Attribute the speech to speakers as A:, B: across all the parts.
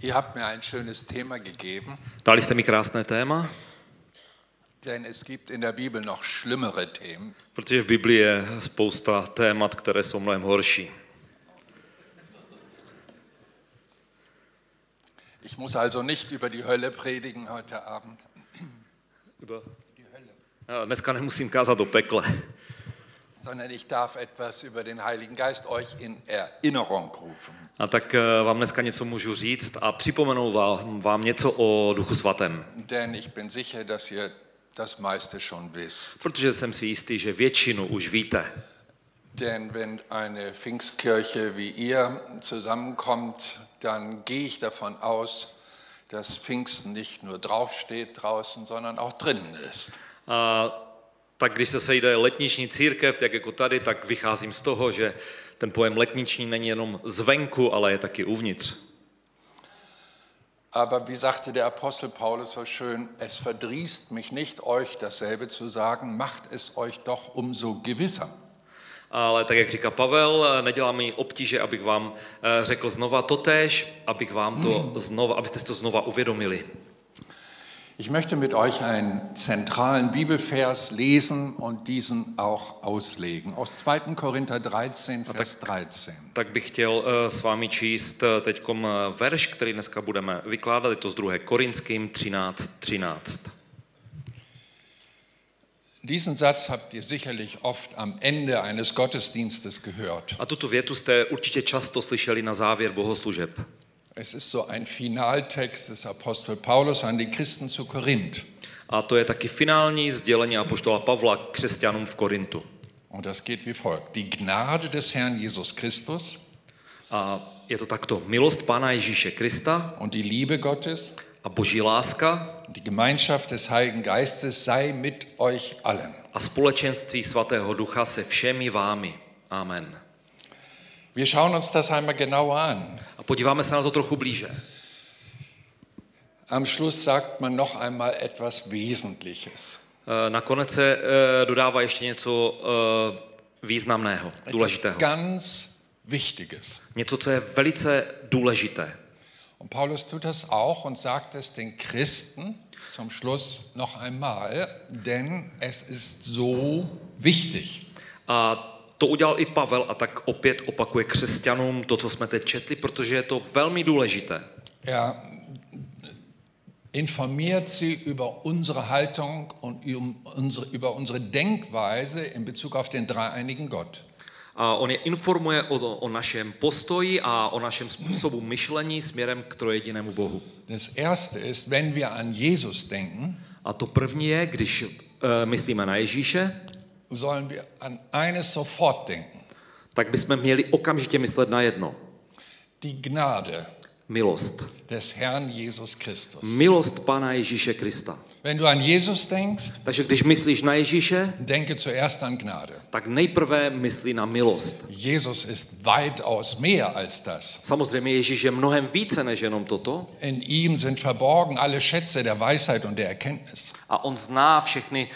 A: Ihr habt mir ein schönes Thema gegeben,
B: Dali ste mi krásné téma,
A: denn es gibt in der Bibel noch schlimmere Themen.
B: protože v Biblii je spousta témat, které jsou mnohem horší.
A: Ich muss also nicht über die Hölle predigen heute Abend.
B: Já Dneska nemusím kázat o pekle,
A: sondern ich darf etwas über den Heiligen Geist euch in Erinnerung rufen.
B: a tak eh, vám dneska něco můžu říct a připomenu vám, vám něco o Duchu Svatém,
A: Denn ich bin sicher, dass ihr das meiste schon wisst.
B: protože jsem si jistý, že většinu už víte.
A: Denn wenn eine Pfingstkirche wie ihr zusammenkommt, dann gehe ich davon aus, dass Pfingsten nicht nur draufsteht draußen, sondern auch drinnen ist.
B: A tak když se sejde letniční církev, tak jako tady, tak vycházím z toho, že ten pojem letniční není jenom zvenku, ale je taky uvnitř.
A: Aber wie sagte der Apostel Paulus so schön, es verdrießt mich nicht, euch dasselbe zu sagen, macht es euch doch umso gewisser.
B: Ale tak, jak říká Pavel, eh, nedělá mi obtíže, abych vám eh, řekl znova totéž, abych vám to znova, abyste si to znova uvědomili.
A: Ich möchte mit euch einen zentralen Bibelvers lesen und diesen auch auslegen. Aus 2. Korinther 13, Vers 13.
B: Tak bych chtěl eh, s vámi číst teď verš, který dneska budeme vykládat, je to z 2. Korinským 13.13. 13.
A: Diesen Satz habt ihr sicherlich oft am Ende eines Gottesdienstes gehört.
B: A tuto větu jste určitě často slyšeli na závěr bohoslužeb.
A: Es ist so ein Finaltext des Apostel Paulus an die Christen zu Korinth.
B: A to je taky finální sdělení apoštola Pavla k křesťanům v Korintu.
A: Und das geht wie folgt. Die Gnade des Herrn Jesus Christus
B: A je to takto. Milost Pána Ježíše Krista
A: und die Liebe Gottes,
B: a boží láska
A: die Gemeinschaft des Heiligen Geistes sei mit euch allen.
B: a společenství svatého ducha se všemi vámi. Amen.
A: Wir schauen uns das einmal genauer an.
B: A podíváme se na to trochu blíže. E,
A: Am Schluss sagt man noch einmal etwas Wesentliches.
B: Eh, Nakonec se eh, dodává ještě něco eh, významného, důležitého.
A: Ganz Wichtiges.
B: Něco, co je velice důležité.
A: Und Paulus tut das auch und sagt es den Christen zum Schluss noch einmal, denn es ist so wichtig.
B: A to udělal i Pavel a tak opět opakuje křesťanům to, co jsme teď četli, protože je to velmi důležité.
A: Er informiert sie über unsere Haltung und um unsere, über unsere Denkweise in Bezug auf den dreieinigen Gott.
B: A on je informuje o, o našem postoji a o našem způsobu myšlení směrem k trojedinému Bohu.
A: Das erste ist, wenn wir an Jesus denken,
B: A to první je, když eh, myslíme na Ježíše,
A: sollen wir an eines sofort denken,
B: tak bychom měli okamžitě myslet na jedno.
A: die Gnade
B: Milost.
A: des Herrn Jesus Christus.
B: Milost Pána Ježíše Krista.
A: Wenn du an Jesus denkst,
B: Takže když myslíš na Ježíše,
A: denke zuerst an Gnade.
B: tak nejprve myslí na milost.
A: Jesus ist weitaus mehr als das.
B: Samozřejmě Ježíš je mnohem více než jenom toto
A: In ihm sind verborgen alle Schätze der Weisheit und der Erkenntnis.
B: a on zná všechny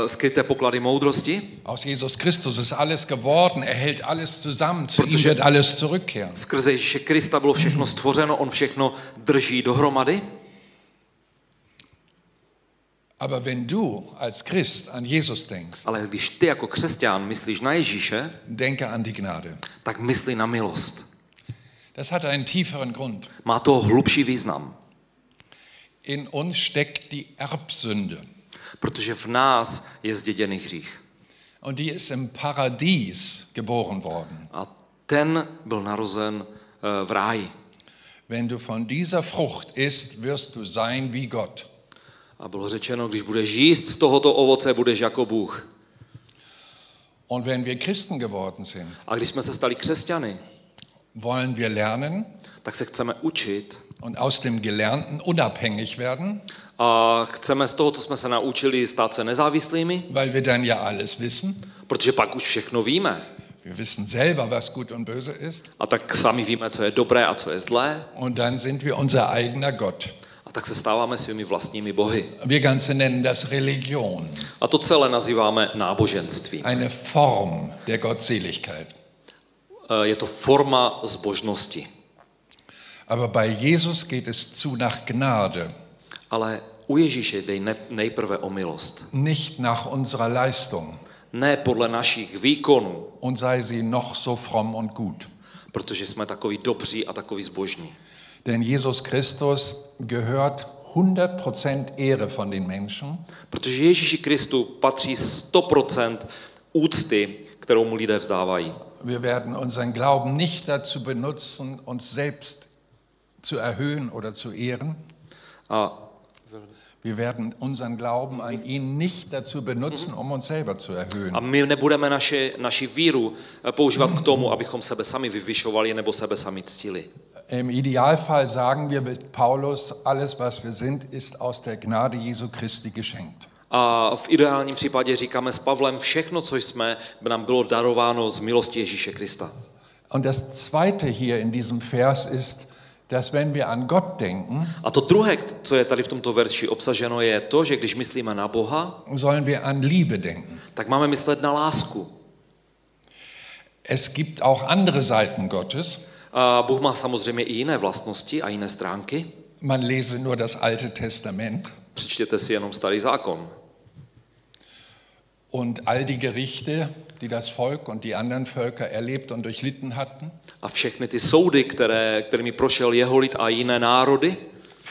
B: uh, skryté poklady moudrosti.
A: Aus Jesus Christus ist alles geworden, er hält alles zusammen, zu ihm wird alles zurückkehren.
B: Skrze Ježíše Krista bylo všechno stvořeno, on všechno drží dohromady.
A: Aber wenn du als Christ an Jesus denkst,
B: Ale když ty jako křesťan myslíš na Ježíše,
A: denke an die Gnade.
B: tak myslí na milost.
A: Das hat einen tieferen Grund.
B: Má to hlubší význam,
A: In uns steckt die Erbsünde
B: protože v nás je zděděný hřích.
A: und die ist im Paradies geboren worden.
B: A ten byl narozen eh, v ráji.
A: Wenn du von dieser Frucht isst, wirst du sein wie Gott.
B: A bylo řečeno, když budeš jíst z tohoto ovoce, budeš jako Bůh.
A: Und wenn wir Christen geworden sind,
B: A když jsme se stali křesťany,
A: wollen wir lernen
B: tak se chceme učit
A: und aus dem Gelernten unabhängig werden,
B: a chceme z toho, co jsme se naučili, stát se nezávislými,
A: weil wir dann ja alles wissen.
B: protože pak už všechno víme.
A: Wir wissen selber, was gut und böse ist.
B: A tak sami víme, co je dobré a co je zlé.
A: Und dann sind wir unser eigener Gott.
B: A tak se stáváme svými vlastními bohy.
A: Wir Ganze nennen das Religion,
B: A to celé nazýváme Eh, náboženství.
A: eine Form der Gottseligkeit.
B: Eh, Je to forma zbožnosti.
A: Aber bei Jesus geht es zu nach Gnade,
B: Ale u Ježíše dej ne, nejprve o milost.
A: nicht nach unserer Leistung
B: Ne podle našich výkonů,
A: und sei sie noch so fromm und gut.
B: protože jsme takový dobří a takový zbožní.
A: Denn Jesus Christus gehört 100% Ehre von den Menschen
B: Protože Ježíši Kristu patří 100% úcty, kterou mu lidé vzdávají.
A: Wir werden unseren Glauben nicht dazu benutzen, uns selbst zu erhöhen oder zu ehren.
B: A
A: Wir werden unseren Glauben an ihn nicht dazu benutzen, um uns selber zu erhöhen.
B: A my nebudeme naše, naši víru eh, používat k tomu, abychom sebe sami vyvyšovali nebo sebe sami ctili.
A: Im Idealfall sagen wir mit Paulus, alles, was wir sind, ist aus der Gnade Jesu Christi geschenkt.
B: A v ideálním případě říkáme s Pavlem, všechno, co jsme, by nám bylo darováno z milosti Ježíše Krista.
A: Und das Zweite hier in diesem Vers ist, dass wenn wir an Gott denken,
B: A to druhé, co je tady v tomto verši obsaženo, je to, že když myslíme na Boha,
A: sollen wir an Liebe denken.
B: tak máme myslet na lásku.
A: Es gibt auch andere Seiten Gottes.
B: A Bůh má samozřejmě i jiné vlastnosti a jiné stránky.
A: Man lese nur das Alte Testament.
B: Přečtěte si jenom starý zákon.
A: Und all die Gerichte, die das Volk und die anderen Völker erlebt und durchlitten hatten,
B: A všechny ty soudy, které, kterými prošel jeho lid a jiné národy,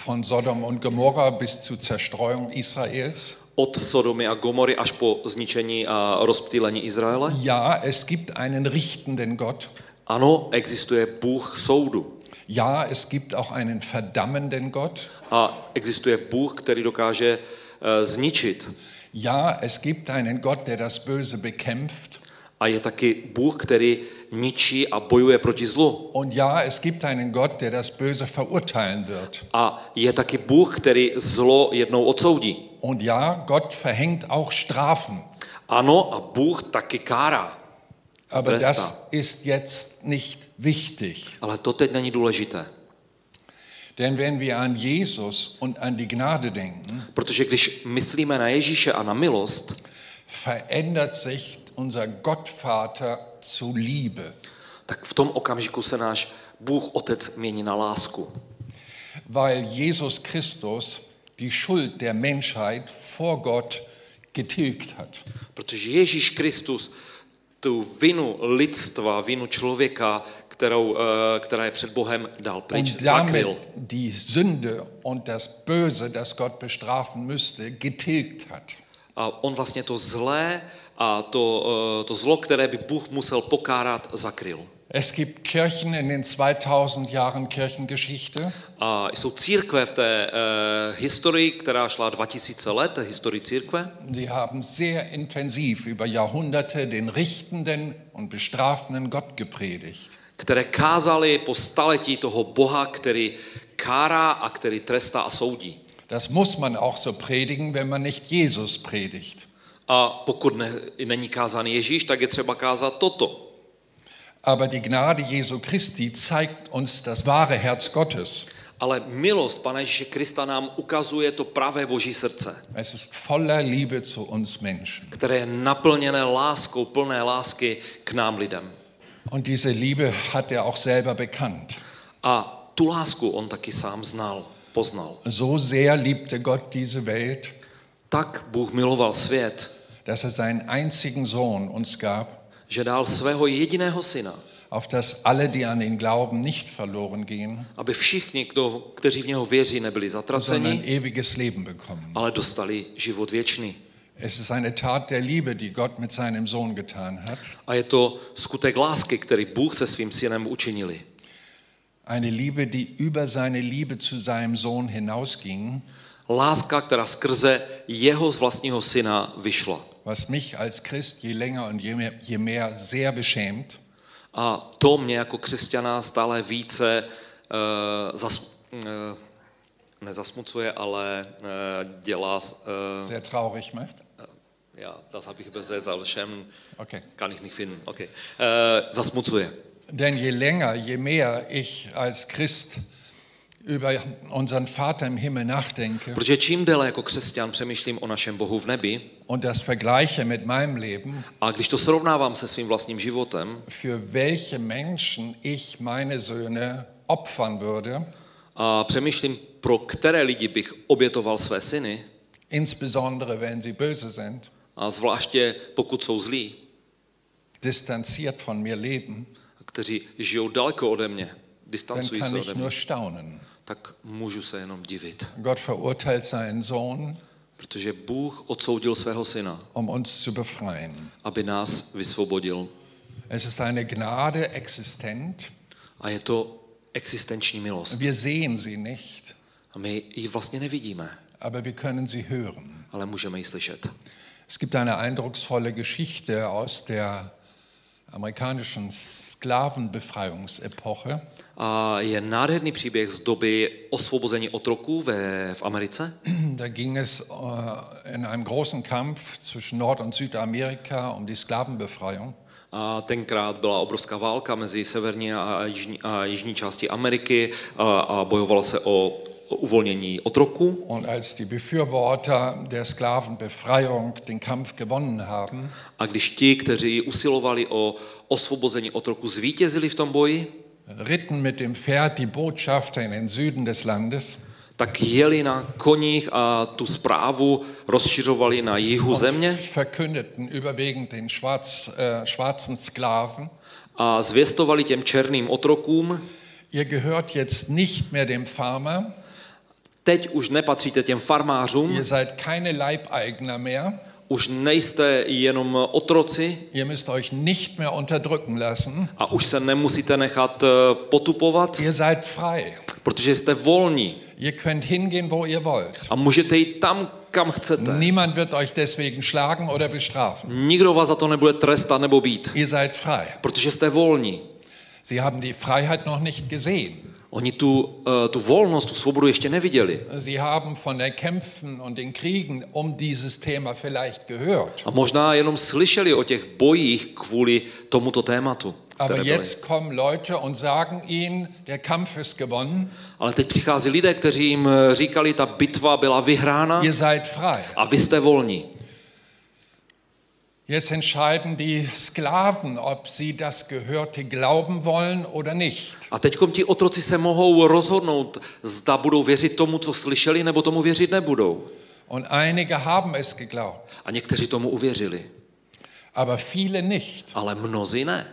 A: von Sodom und Gomorra bis zur Zerstreuung Israels.
B: od Sodomy a Gomory až po zničení a rozptýlení Izraele.
A: Ja, es gibt einen richtenden Gott.
B: Ano, existuje Bůh soudu.
A: Ja, es gibt auch einen verdammenden Gott.
B: A existuje Bůh, který dokáže eh, zničit.
A: Ja, es gibt einen Gott, der das Böse bekämpft.
B: A je taky Bůh, který ničí a bojuje proti zlu.
A: Und ja, es gibt einen Gott, der das Böse verurteilen wird.
B: A je taky Bůh, který zlo jednou odsoudí.
A: Und ja, Gott verhängt auch Strafen.
B: Ano, a Bůh taky kárá.
A: Aber
B: Trester.
A: das ist jetzt nicht wichtig.
B: Ale to teď není důležité.
A: Denn wenn wir an Jesus und an die Gnade denken,
B: Protože když myslíme na Ježíše a na milost,
A: verändert sich unser Gottvater zu Liebe.
B: tak v tom okamžiku se náš Bůh Otec mění na lásku.
A: weil Jesus Christus die Schuld der Menschheit vor Gott getilgt hat.
B: Protože Ježíš Kristus tu vinu lidstva, vinu člověka, kterou, eh, která je před Bohem, dal pryč,
A: Und
B: zakryl.
A: damit die Sünde und das Böse, das Gott bestrafen müsste, getilgt hat.
B: A on vlastně to zlé a to, eh, to zlo, které by Bůh musel pokárat, zakryl.
A: Es gibt Kirchen in den 2000 Jahren Kirchengeschichte,
B: A jsou církve v té eh, historii, která šla 2000 let, té historii církve,
A: die haben sehr intensiv über Jahrhunderte den richtenden und bestrafenden Gott gepredigt.
B: které kázali po staletí toho Boha, který kárá a který trestá a soudí.
A: Das muss man auch so predigen, wenn man nicht Jesus predigt.
B: A pokud ne, není kázán Ježíš, tak je třeba kázat toto.
A: Aber die Gnade Jesu Christi zeigt uns das wahre Herz Gottes.
B: Ale milost Pana Ježíše Krista nám ukazuje to pravé boží srdce,
A: Es ist voller Liebe zu uns Menschen.
B: které je naplněné láskou, plné lásky k nám lidem.
A: Und diese Liebe hat er auch selber bekannt.
B: A tu lásku on taky sám znal, poznal.
A: So sehr liebte Gott diese Welt,
B: Tak Bůh miloval svět,
A: dass er seinen einzigen Sohn uns gab,
B: že dal svého jediného syna,
A: auf dass alle, die an ihn glauben, nicht verloren gehen,
B: aby všichni, kdo, kteří v něho věří, nebyli
A: sondern
B: zatraceni,
A: ewiges Leben bekommen.
B: ale dostali život věčný.
A: Es ist eine Tat der Liebe, die Gott mit seinem Sohn getan hat.
B: A je to skutek lásky, který Bůh se svým synem učinili.
A: Eine Liebe, die über seine Liebe zu seinem Sohn hinausging,
B: Láska, která skrze jeho vlastního syna vyšla.
A: was mich als Christ je länger und je mehr, je mehr sehr beschämt,
B: A to mě jako křesťana stále více uh, zas, uh, nezasmucuje, ale uh, dělá, uh,
A: sehr traurig macht.
B: já, das habe ich übersetzt, ale všem
A: Okay.
B: kann ich nicht finden. Okay. Uh, Eh, zasmucuje.
A: Denn je länger, je mehr ich als Christ über unseren Vater im Himmel nachdenke
B: Protože čím déle jako křesťan přemýšlím o našem Bohu v nebi
A: und das vergleiche mit meinem Leben,
B: a když to srovnávám se svým vlastním životem
A: für welche Menschen ich meine Söhne opfern würde,
B: a přemýšlím, pro které lidi bych obětoval své syny,
A: insbesondere wenn sie böse sind,
B: a zvláště pokud jsou zlí,
A: distanziert von mir leben,
B: kteří žijou daleko ode mě,
A: dann
B: distancují
A: kann
B: se
A: ich
B: ode
A: nur
B: mě,
A: staunen.
B: tak můžu se jenom divit.
A: Gott verurteilt seinen Sohn,
B: Protože Bůh odsoudil svého syna,
A: um uns zu befreien.
B: aby nás vysvobodil.
A: Es ist eine Gnade existent.
B: A je to existenční milost.
A: Wir sehen sie nicht,
B: A my ji vlastně nevidíme,
A: aber wir können sie hören.
B: ale můžeme ji slyšet.
A: Es gibt eine eindrucksvolle Geschichte aus der amerikanischen Sklavenbefreiungsepoche.
B: A je nádherný příběh z doby osvobození otroků ve, v Americe.
A: Da ging es äh, in einem großen Kampf zwischen Nord- und Südamerika um die Sklavenbefreiung.
B: A tenkrát byla obrovská válka mezi severní a jižní, a jižní části Ameriky a, a bojovalo se o o uvolnění otroků.
A: Und als die Befürworter der Sklavenbefreiung den Kampf gewonnen haben,
B: A když ti, kteří usilovali o osvobození otroku, zvítězili v tom boji,
A: ritten mit dem Pferd die Botschafter in den Süden des Landes
B: tak jeli na koních a tu zprávu rozšiřovali na jihu
A: und
B: země
A: verkündeten überwiegend den Schwarz, äh, schwarzen Sklaven,
B: a zvěstovali těm černým otrokům,
A: ihr gehört jetzt nicht mehr dem Farmer,
B: teď už nepatříte těm farmářům,
A: Ihr seid keine Leibeigner mehr.
B: už nejste jenom otroci
A: Ihr müsst euch nicht mehr unterdrücken lassen.
B: a už se nemusíte nechat eh, potupovat,
A: Ihr seid frei.
B: protože jste volní
A: Ihr könnt hingehen, wo ihr wollt.
B: a můžete jít tam, kam chcete.
A: Niemand wird euch deswegen schlagen oder bestrafen.
B: Nikdo vás za to nebude trestat nebo být,
A: Ihr seid frei.
B: protože jste volní.
A: Sie haben die Freiheit noch nicht gesehen.
B: Oni tu, eh, tu volnost, tu svobodu ještě neviděli.
A: Sie haben von den Kämpfen und den Kriegen um dieses Thema vielleicht gehört.
B: A možná jenom slyšeli o těch bojích kvůli tomuto tématu. které
A: Aber
B: byly.
A: jetzt kommen Leute und sagen ihnen, der Kampf ist gewonnen.
B: Ale teď přichází lidé, kteří jim eh, říkali, ta bitva byla vyhrána
A: Ihr seid frei.
B: a vy jste volní.
A: Jetzt entscheiden die Sklaven, ob sie das Gehörte glauben wollen oder nicht.
B: A teď ti otroci se mohou rozhodnout, zda budou věřit tomu, co slyšeli, nebo tomu věřit nebudou.
A: Und einige haben es geglaubt,
B: A někteří tomu uvěřili,
A: aber viele nicht.
B: ale mnozí ne.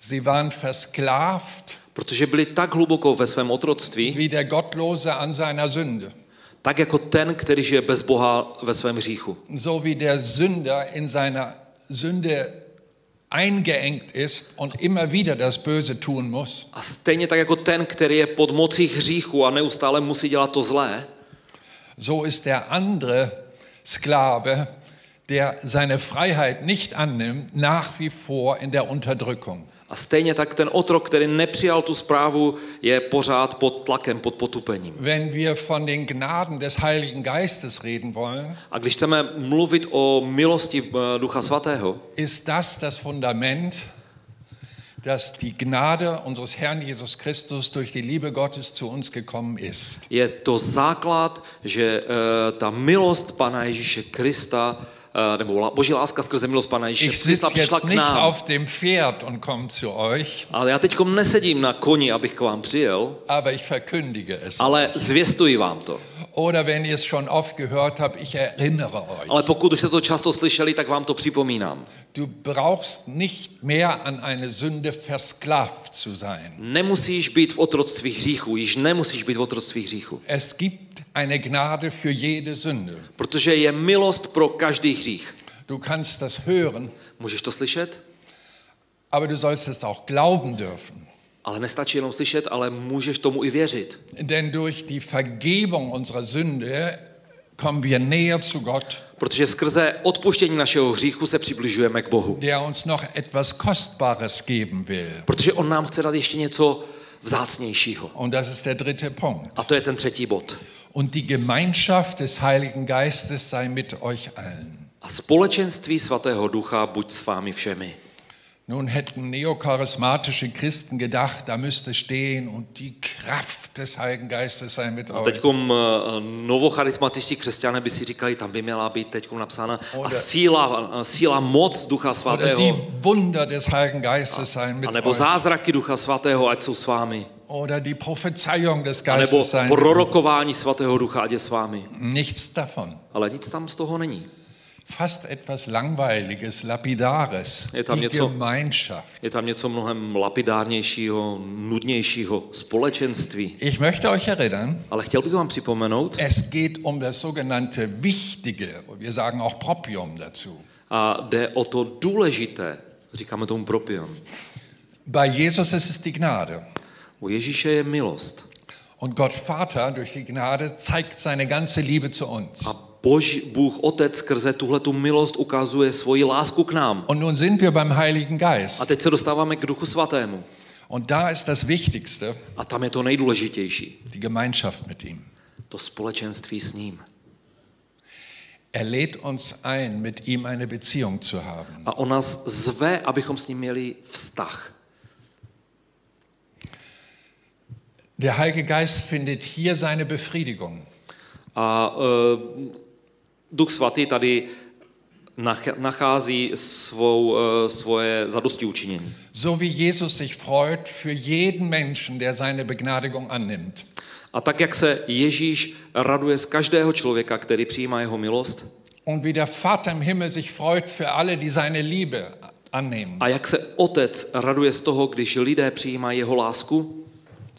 A: Sie waren versklavt
B: Protože byli tak hluboko ve svém otroctví,
A: wie der Gottlose an seiner Sünde,
B: tak jako ten, který žije bez Boha ve svém hříchu.
A: so wie der Sünder in seiner Sünde eingeengt ist und immer wieder das Böse tun muss.
B: A stejně tak jako ten, který je pod mocí hříchu a neustále musí dělat to zlé,
A: So ist der andere Sklave, der seine Freiheit nicht annimmt, nach wie vor in der Unterdrückung.
B: a stejně tak ten otrok, který nepřijal tu zprávu, je pořád pod tlakem, pod potupením.
A: Wenn wir von den Gnaden des Heiligen Geistes reden wollen,
B: A když chceme mluvit o milosti eh, Ducha Svatého,
A: ist das das Fundament, dass die Gnade unseres Herrn Jesus Christus durch die Liebe Gottes zu uns gekommen ist.
B: Je to základ, že eh, ta milost Pana Ježíše Krista, eh, nebo la- boží láska skrze milost Pana Ježíše
A: Ich
B: Krista
A: sitze
B: přišla
A: jetzt
B: k
A: nicht
B: nám.
A: auf dem Pferd und komme zu euch,
B: Ale já teď nesedím na koni, abych k vám přijel,
A: aber ich verkündige es.
B: ale zvěstuji vám to.
A: Oder wenn ihr es schon oft gehört habt, ich erinnere euch.
B: Ale pokud už jste to často slyšeli, tak vám to připomínám.
A: Du brauchst nicht mehr an eine Sünde versklavt zu sein.
B: Nemusíš být v otroctví hříchu, již nemusíš být v otroctví hříchu.
A: Es gibt eine Gnade für jede Sünde.
B: Protože je milost pro každý hřích.
A: Du kannst das hören,
B: Můžeš to slyšet,
A: aber du sollst es auch glauben dürfen.
B: ale nestačí jenom slyšet, ale můžeš tomu i věřit.
A: Denn durch die Vergebung unserer Sünde kommen wir näher zu Gott,
B: Protože skrze odpuštění našeho hříchu se přibližujeme k Bohu.
A: der uns noch etwas Kostbares geben will.
B: Protože on nám chce dát ještě něco vzácnějšího.
A: Und das ist der dritte Punkt.
B: A to je ten třetí bod.
A: Und die Gemeinschaft des Heiligen Geistes sei mit euch allen.
B: A společenství svatého ducha buď s vámi všemi.
A: Nun hätten neocharismatische Christen gedacht, da müsste stehen und die Kraft des Heiligen Geistes sei mit euch.
B: Teď eh, novocharismatičtí křesťané by si říkali, tam by měla být teď napsána a
A: Oder-
B: síla, eh, síla moc Ducha
A: Oder die
B: Svatého,
A: Wunder des Heiligen Geistes seien mit
B: Ah. anebo
A: euch.
B: zázraky Ducha Svatého, ať jsou s vámi,
A: Oder die Prophezeiung des
B: anebo
A: Geistes seien mit euch.
B: prorokování Svatého Ducha, ať je s vámi.
A: Nichts davon.
B: Ale nic tam z toho není.
A: Fast etwas Langweiliges, Lapidares.
B: Je tam
A: Die
B: něco-
A: Gemeinschaft.
B: Je tam něco mnohem lapidárnějšího, nudnějšího, společenství.
A: Ich möchte euch erinnern,
B: Ale chtěl bych vám připomenout,
A: es geht um das sogenannte Wichtige. Wir sagen auch Propium dazu.
B: a jde o to důležité, říkáme tomu propion.
A: Bei Jesus ist es die Gnade.
B: U Ježíše je milost.
A: Und Gott Vater durch die Gnade zeigt seine ganze Liebe zu uns.
B: A Bož, Bůh Otec skrze tuhle tu milost ukazuje svoji lásku k nám.
A: Und nun sind wir beim Heiligen
B: A
A: Geist.
B: teď se dostáváme k Duchu Svatému.
A: Und da ist das Wichtigste
B: A tam je to nejdůležitější.
A: die Gemeinschaft mit ihm.
B: To společenství s ním.
A: Er lädt uns ein, mit ihm eine Beziehung zu haben.
B: A on nás zve, abychom s ním měli vztah.
A: Der Heilige Geist findet hier seine Befriedigung.
B: A e, Duch Svatý tady nach- nachází svou, e, svoje zadosti učinění.
A: So wie Jesus sich freut für jeden Menschen, der seine Begnadigung annimmt.
B: A tak, jak se Ježíš raduje z každého člověka, který přijímá jeho milost,
A: Und wie der Vater im Himmel sich freut für alle, die seine Liebe annehmen.
B: a jak se Otec raduje z toho, když lidé přijímají jeho lásku,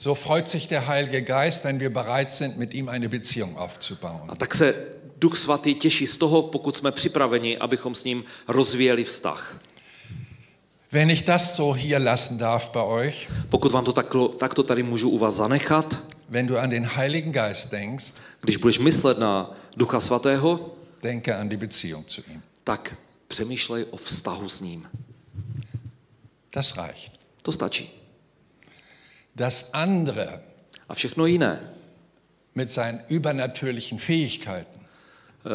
A: So freut sich der Heilige Geist, wenn wir bereit sind, mit ihm eine Beziehung aufzubauen.
B: A tak se Duch Svatý těší z toho, pokud jsme připraveni, abychom s ním rozvíjeli vztah.
A: Wenn ich das so hier lassen darf bei euch,
B: Pokud vám to takto, takto tady můžu u vás zanechat,
A: wenn du an den Heiligen Geist denkst,
B: když budeš myslet na Ducha Svatého,
A: denke an die Beziehung zu ihm.
B: tak přemýšlej o vztahu s ním.
A: Das reicht.
B: To stačí.
A: Das andere
B: A všechno jiné,
A: mit seinen übernatürlichen Fähigkeiten,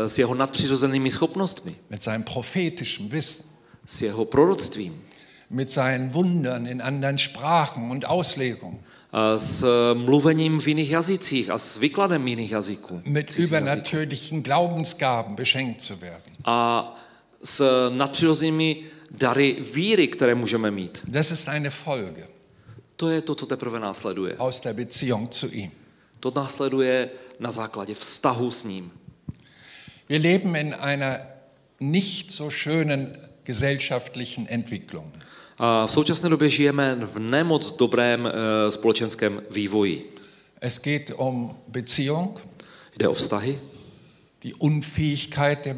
B: eh, s jeho nadpřirozenými schopnostmi,
A: mit seinem prophetischen Wissen,
B: s jeho proroctvím,
A: mit seinen Wundern in anderen Sprachen und Auslegungen,
B: eh, s eh, mluvením v jiných jazycích a s vykladem jiných jazyků.
A: mit
B: cizích jazyků.
A: übernatürlichen Glaubensgaben beschenkt zu werden.
B: A s nadpřirozenými dary víry, které můžeme mít.
A: Das ist eine Folge
B: To je to, co teprve následuje.
A: aus der Beziehung zu ihm.
B: To následuje na základě vztahu s ním.
A: Wir leben in einer nicht so schönen gesellschaftlichen Entwicklung.
B: A v současné době žijeme v nemoc dobrém eh, společenském vývoji.
A: Es geht um Beziehung,
B: Jde o vztahy,
A: die Unfähigkeit der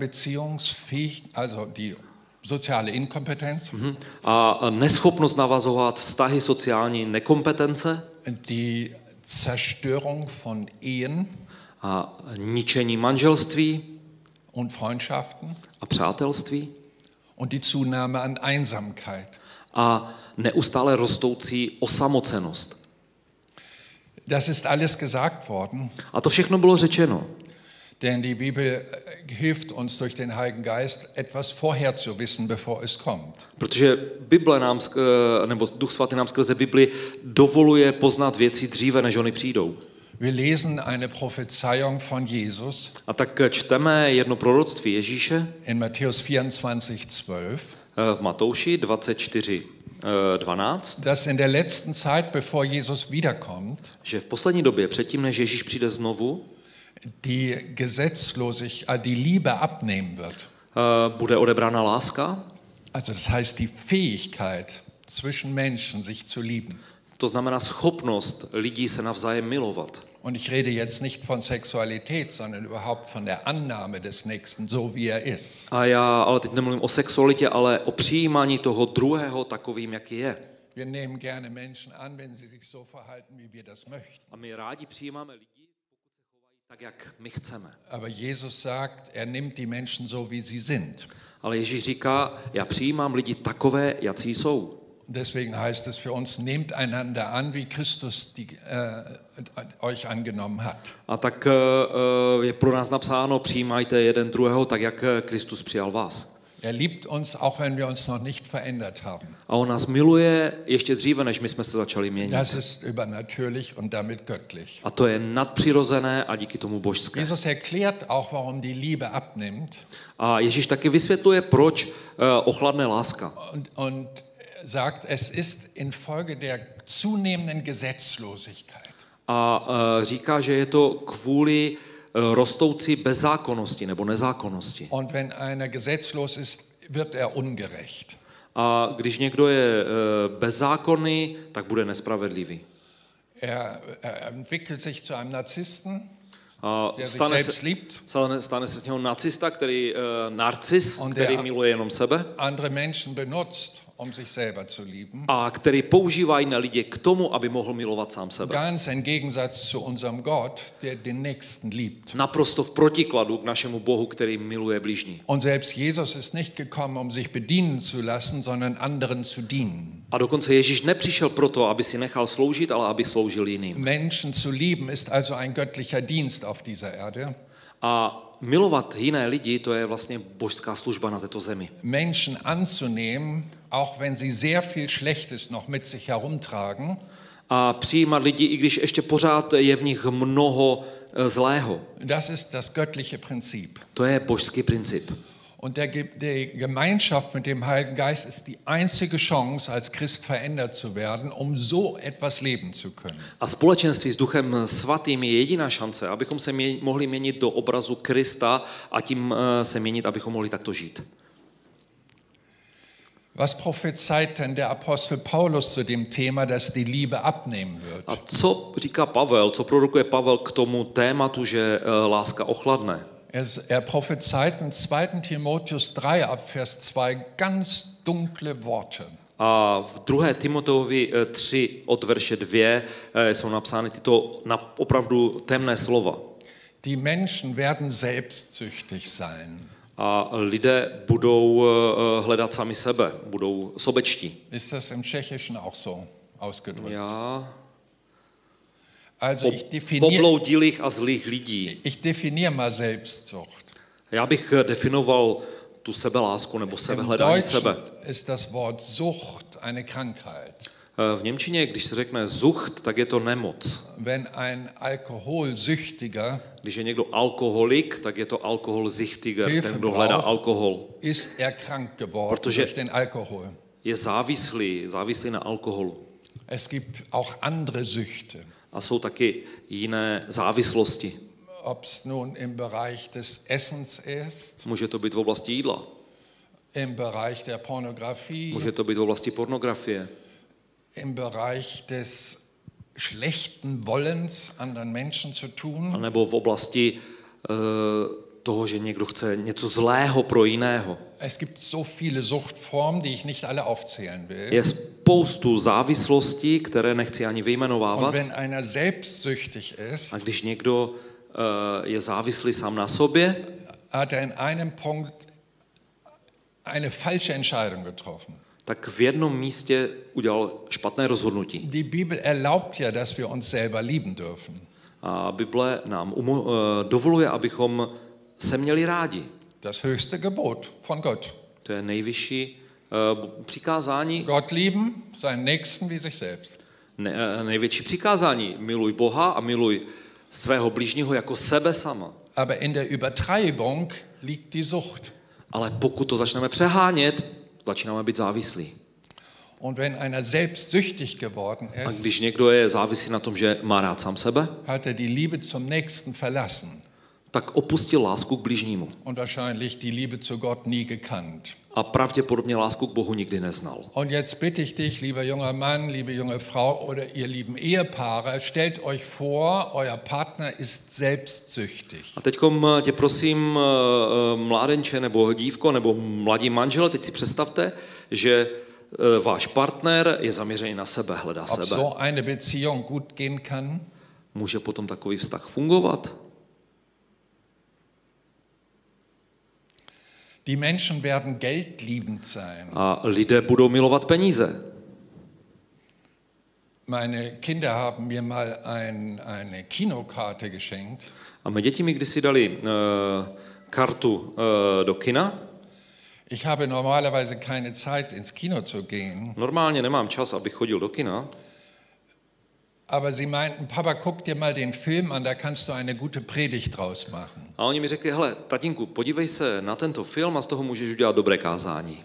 A: Beziehungsfähigkeit, also die soziale Inkompetenz,
B: hm, a neschopnost navazovat vztahy sociální nekompetence
A: die Zerstörung von Ehen
B: a ničení manželství
A: und Freundschaften
B: a přátelství
A: und die Zunahme an Einsamkeit.
B: a neustále rostoucí osamocenost.
A: Das ist alles gesagt worden,
B: A to všechno bylo řečeno,
A: denn die Bibel äh, hilft uns durch den Heiligen Geist, etwas vorher zu wissen, bevor es kommt.
B: protože Bible nám, sk- eh, nebo Duch Svatý nám skrze Bibli dovoluje poznat věci dříve, než oni přijdou.
A: Wir lesen eine Prophezeiung von Jesus
B: A tak čteme jedno proroctví Ježíše
A: in Matthäus 24, 12,
B: eh, v Matouši 24, eh, 12,
A: dass in der letzten Zeit, bevor Jesus wiederkommt,
B: že v poslední době, předtím než Ježíš přijde znovu,
A: die Gesetzlosigkeit, äh, die Liebe abnehmen wird.
B: eh, bude odebrána láska,
A: Also das heißt die Fähigkeit zwischen Menschen, sich zu lieben.
B: to znamená schopnost lidí se navzájem milovat.
A: Und ich rede jetzt nicht von Sexualität, sondern überhaupt von der Annahme des Nächsten, so wie er ist.
B: A já ale teď nemluvím o sexualitě, ale o přijímání toho druhého takovým, jaký je.
A: Wir nehmen gerne Menschen an, wenn sie sich so verhalten, wie wir das möchten.
B: A my rádi přijímáme lidi, pokud se chovají tak, jak my chceme.
A: Aber Jesus sagt, er nimmt die Menschen so, wie sie sind.
B: Ale Ježíš říká, já přijímám lidi takové, jací jsou.
A: Deswegen heißt es für uns, nehmt einander an, wie Christus die, äh, euch angenommen hat.
B: A tak eh, eh, je pro nás napsáno, přijímajte jeden druhého tak, jak eh, Kristus přijal vás.
A: Er liebt uns, auch wenn wir uns noch nicht verändert haben.
B: A on nás miluje ještě dříve, než my jsme se začali měnit.
A: Das ist übernatürlich und damit göttlich.
B: A to je nadpřirozené a díky tomu božské.
A: Jesus erklärt auch, warum die Liebe abnimmt
B: A Ježíš taky vysvětluje, proč eh, ochladne láska.
A: und, und sagt, es ist infolge der zunehmenden Gesetzlosigkeit.
B: A eh, říká, že je to kvůli eh, rostoucí bezzákonnosti nebo nezákonnosti.
A: Und wenn einer gesetzlos ist, wird er ungerecht.
B: A když někdo je eh, bezzákonný, tak bude nespravedlivý.
A: Er, er entwickelt sich zu einem Narzissten,
B: A
A: der sich
B: stane
A: selbst
B: se,
A: liebt.
B: stane, stane se z něho narcista, který, eh, narcis,
A: On
B: který
A: the-
B: miluje jenom sebe
A: andere Menschen benutzt, um sich selber zu lieben.
B: a který používá jiné lidi k tomu, aby mohl milovat sám sebe.
A: Ganz im Gegensatz zu unserem Gott, der den Nächsten liebt.
B: Naprosto v protikladu k našemu Bohu, který miluje blížní.
A: Und selbst Jesus ist nicht gekommen, um sich bedienen zu lassen, sondern anderen zu dienen.
B: A dokonce Ježíš nepřišel proto, aby si nechal sloužit, ale aby sloužil jiným.
A: Menschen zu lieben ist also ein göttlicher Dienst auf dieser Erde.
B: A milovat jiné lidi, to je vlastně božská služba na této zemi.
A: Menschen anzunehmen, auch wenn sie sehr viel Schlechtes noch mit sich herumtragen,
B: A přijímat lidi, i když ještě pořád je v nich mnoho eh, zlého.
A: das ist das göttliche Prinzip.
B: To je božský princip.
A: Und der, Ge- die Gemeinschaft mit dem Heiligen Geist ist die einzige Chance, als Christ verändert zu werden, um so etwas leben zu können.
B: A společenství s Duchem Svatým je jediná šance, abychom se mě, mohli měnit do obrazu Krista a tím eh, se měnit, abychom mohli takto žít.
A: Was prophezeit denn der Apostel Paulus zu dem Thema, dass die Liebe abnehmen wird?
B: A co říká Pavel, co prorokuje Pavel k tomu tématu, že eh, láska ochladne?
A: Er, er prophezeit in 2. Timotheus 3 ab Vers 2 ganz dunkle Worte.
B: A v 2. Timoteovi eh, 3 od verše 2 eh, jsou napsány tyto na, opravdu temné slova.
A: Die Menschen werden selbstsüchtig sein.
B: A lidé budou eh, hledat sami sebe, budou sobečtí.
A: Ist das im Tschechischen auch so ausgedrückt?
B: Já
A: Also
B: po,
A: ich definiere
B: pobloudilých a zlých lidí.
A: ich definier mal Selbstsucht.
B: Já bych eh, definoval tu sebelásku nebo
A: Im
B: sebehledání sebe.
A: Deutschen ist das Wort Sucht eine Krankheit.
B: Eh, V Němčině, když se řekne zucht, tak je to nemoc.
A: Wenn ein Alkoholsüchtiger
B: Když je někdo alkoholik, tak je to alkohol zichtiger, ten,
A: Hilfe
B: kdo hledá
A: braucht.
B: alkohol.
A: ist er krank geworden
B: Protože-
A: durch den Alkohol.
B: Je závislý, závislý na alkoholu.
A: Es gibt auch andere Süchte,
B: A jsou taky jiné závislosti.
A: ob es nun im Bereich des Essens ist,
B: Může to být v oblasti jídla,
A: im Bereich der Pornografie,
B: může to být v oblasti pornografie,
A: im Bereich des schlechten Wollens, anderen Menschen zu tun.
B: anebo v oblasti eh, toho, že někdo chce něco zlého pro jiného.
A: Es gibt so viele Suchtformen, die ich nicht alle aufzählen will.
B: Je spoustu závislostí, které nechci ani
A: Und
B: vyjmenovávat.
A: wenn einer selbstsüchtig ist,
B: A když někdo eh, je závislý sám na sobě,
A: hat er in einem Punkt eine falsche Entscheidung getroffen.
B: tak v jednom místě udělal špatné rozhodnutí.
A: Die Bibel erlaubt ja, dass wir uns selber lieben dürfen.
B: A Bible nám umo- eh, dovoluje, abychom se měli rádi.
A: Das höchste Gebot von Gott.
B: To je nejvyšší eh, přikázání,
A: Gott lieben, seinen Nächsten wie sich selbst.
B: ne, eh, největší přikázání. Miluj Boha a miluj svého blížního jako sebe sama.
A: Aber in der Übertreibung liegt die Sucht.
B: Ale pokud to začneme přehánět, začínáme být závislí.
A: Und wenn einer selbst süchtig geworden
B: A
A: ist,
B: když někdo je závislý na tom, že má rád sám sebe,
A: hat er die Liebe zum Nächsten verlassen
B: tak opustil lásku k blížnímu.
A: und wahrscheinlich die Liebe zu Gott nie gekannt.
B: A pravděpodobně lásku k Bohu nikdy neznal.
A: Und jetzt bitte ich dich, lieber junger Mann, liebe junge Frau oder ihr lieben Ehepaare, stellt euch vor, euer Partner ist selbstsüchtig.
B: A teď tě prosím, eh, eh, mládenče nebo dívko nebo mladí manžel, teď si představte, že eh, váš partner je zaměřený na sebe, hledá
A: Ob
B: sebe.
A: so eine Beziehung gut gehen kann?
B: Může potom takový vztah fungovat?
A: Die Menschen werden geldliebend sein.
B: A lidé budou milovat peníze.
A: Meine Kinder haben mir mal ein, eine Kinokarte geschenkt.
B: A my děti mi kdysi dali eh, kartu eh, do kina
A: Ich habe normalerweise keine Zeit, ins Kino zu gehen,
B: Normálně nemám čas, abych chodil do kina,
A: aber sie meinten, Papa, guck dir mal den Film an, da kannst du eine gute Predigt draus machen.
B: a oni mi řekli, hele, tatínku, podívej se na tento film a z toho můžeš udělat dobré kázání.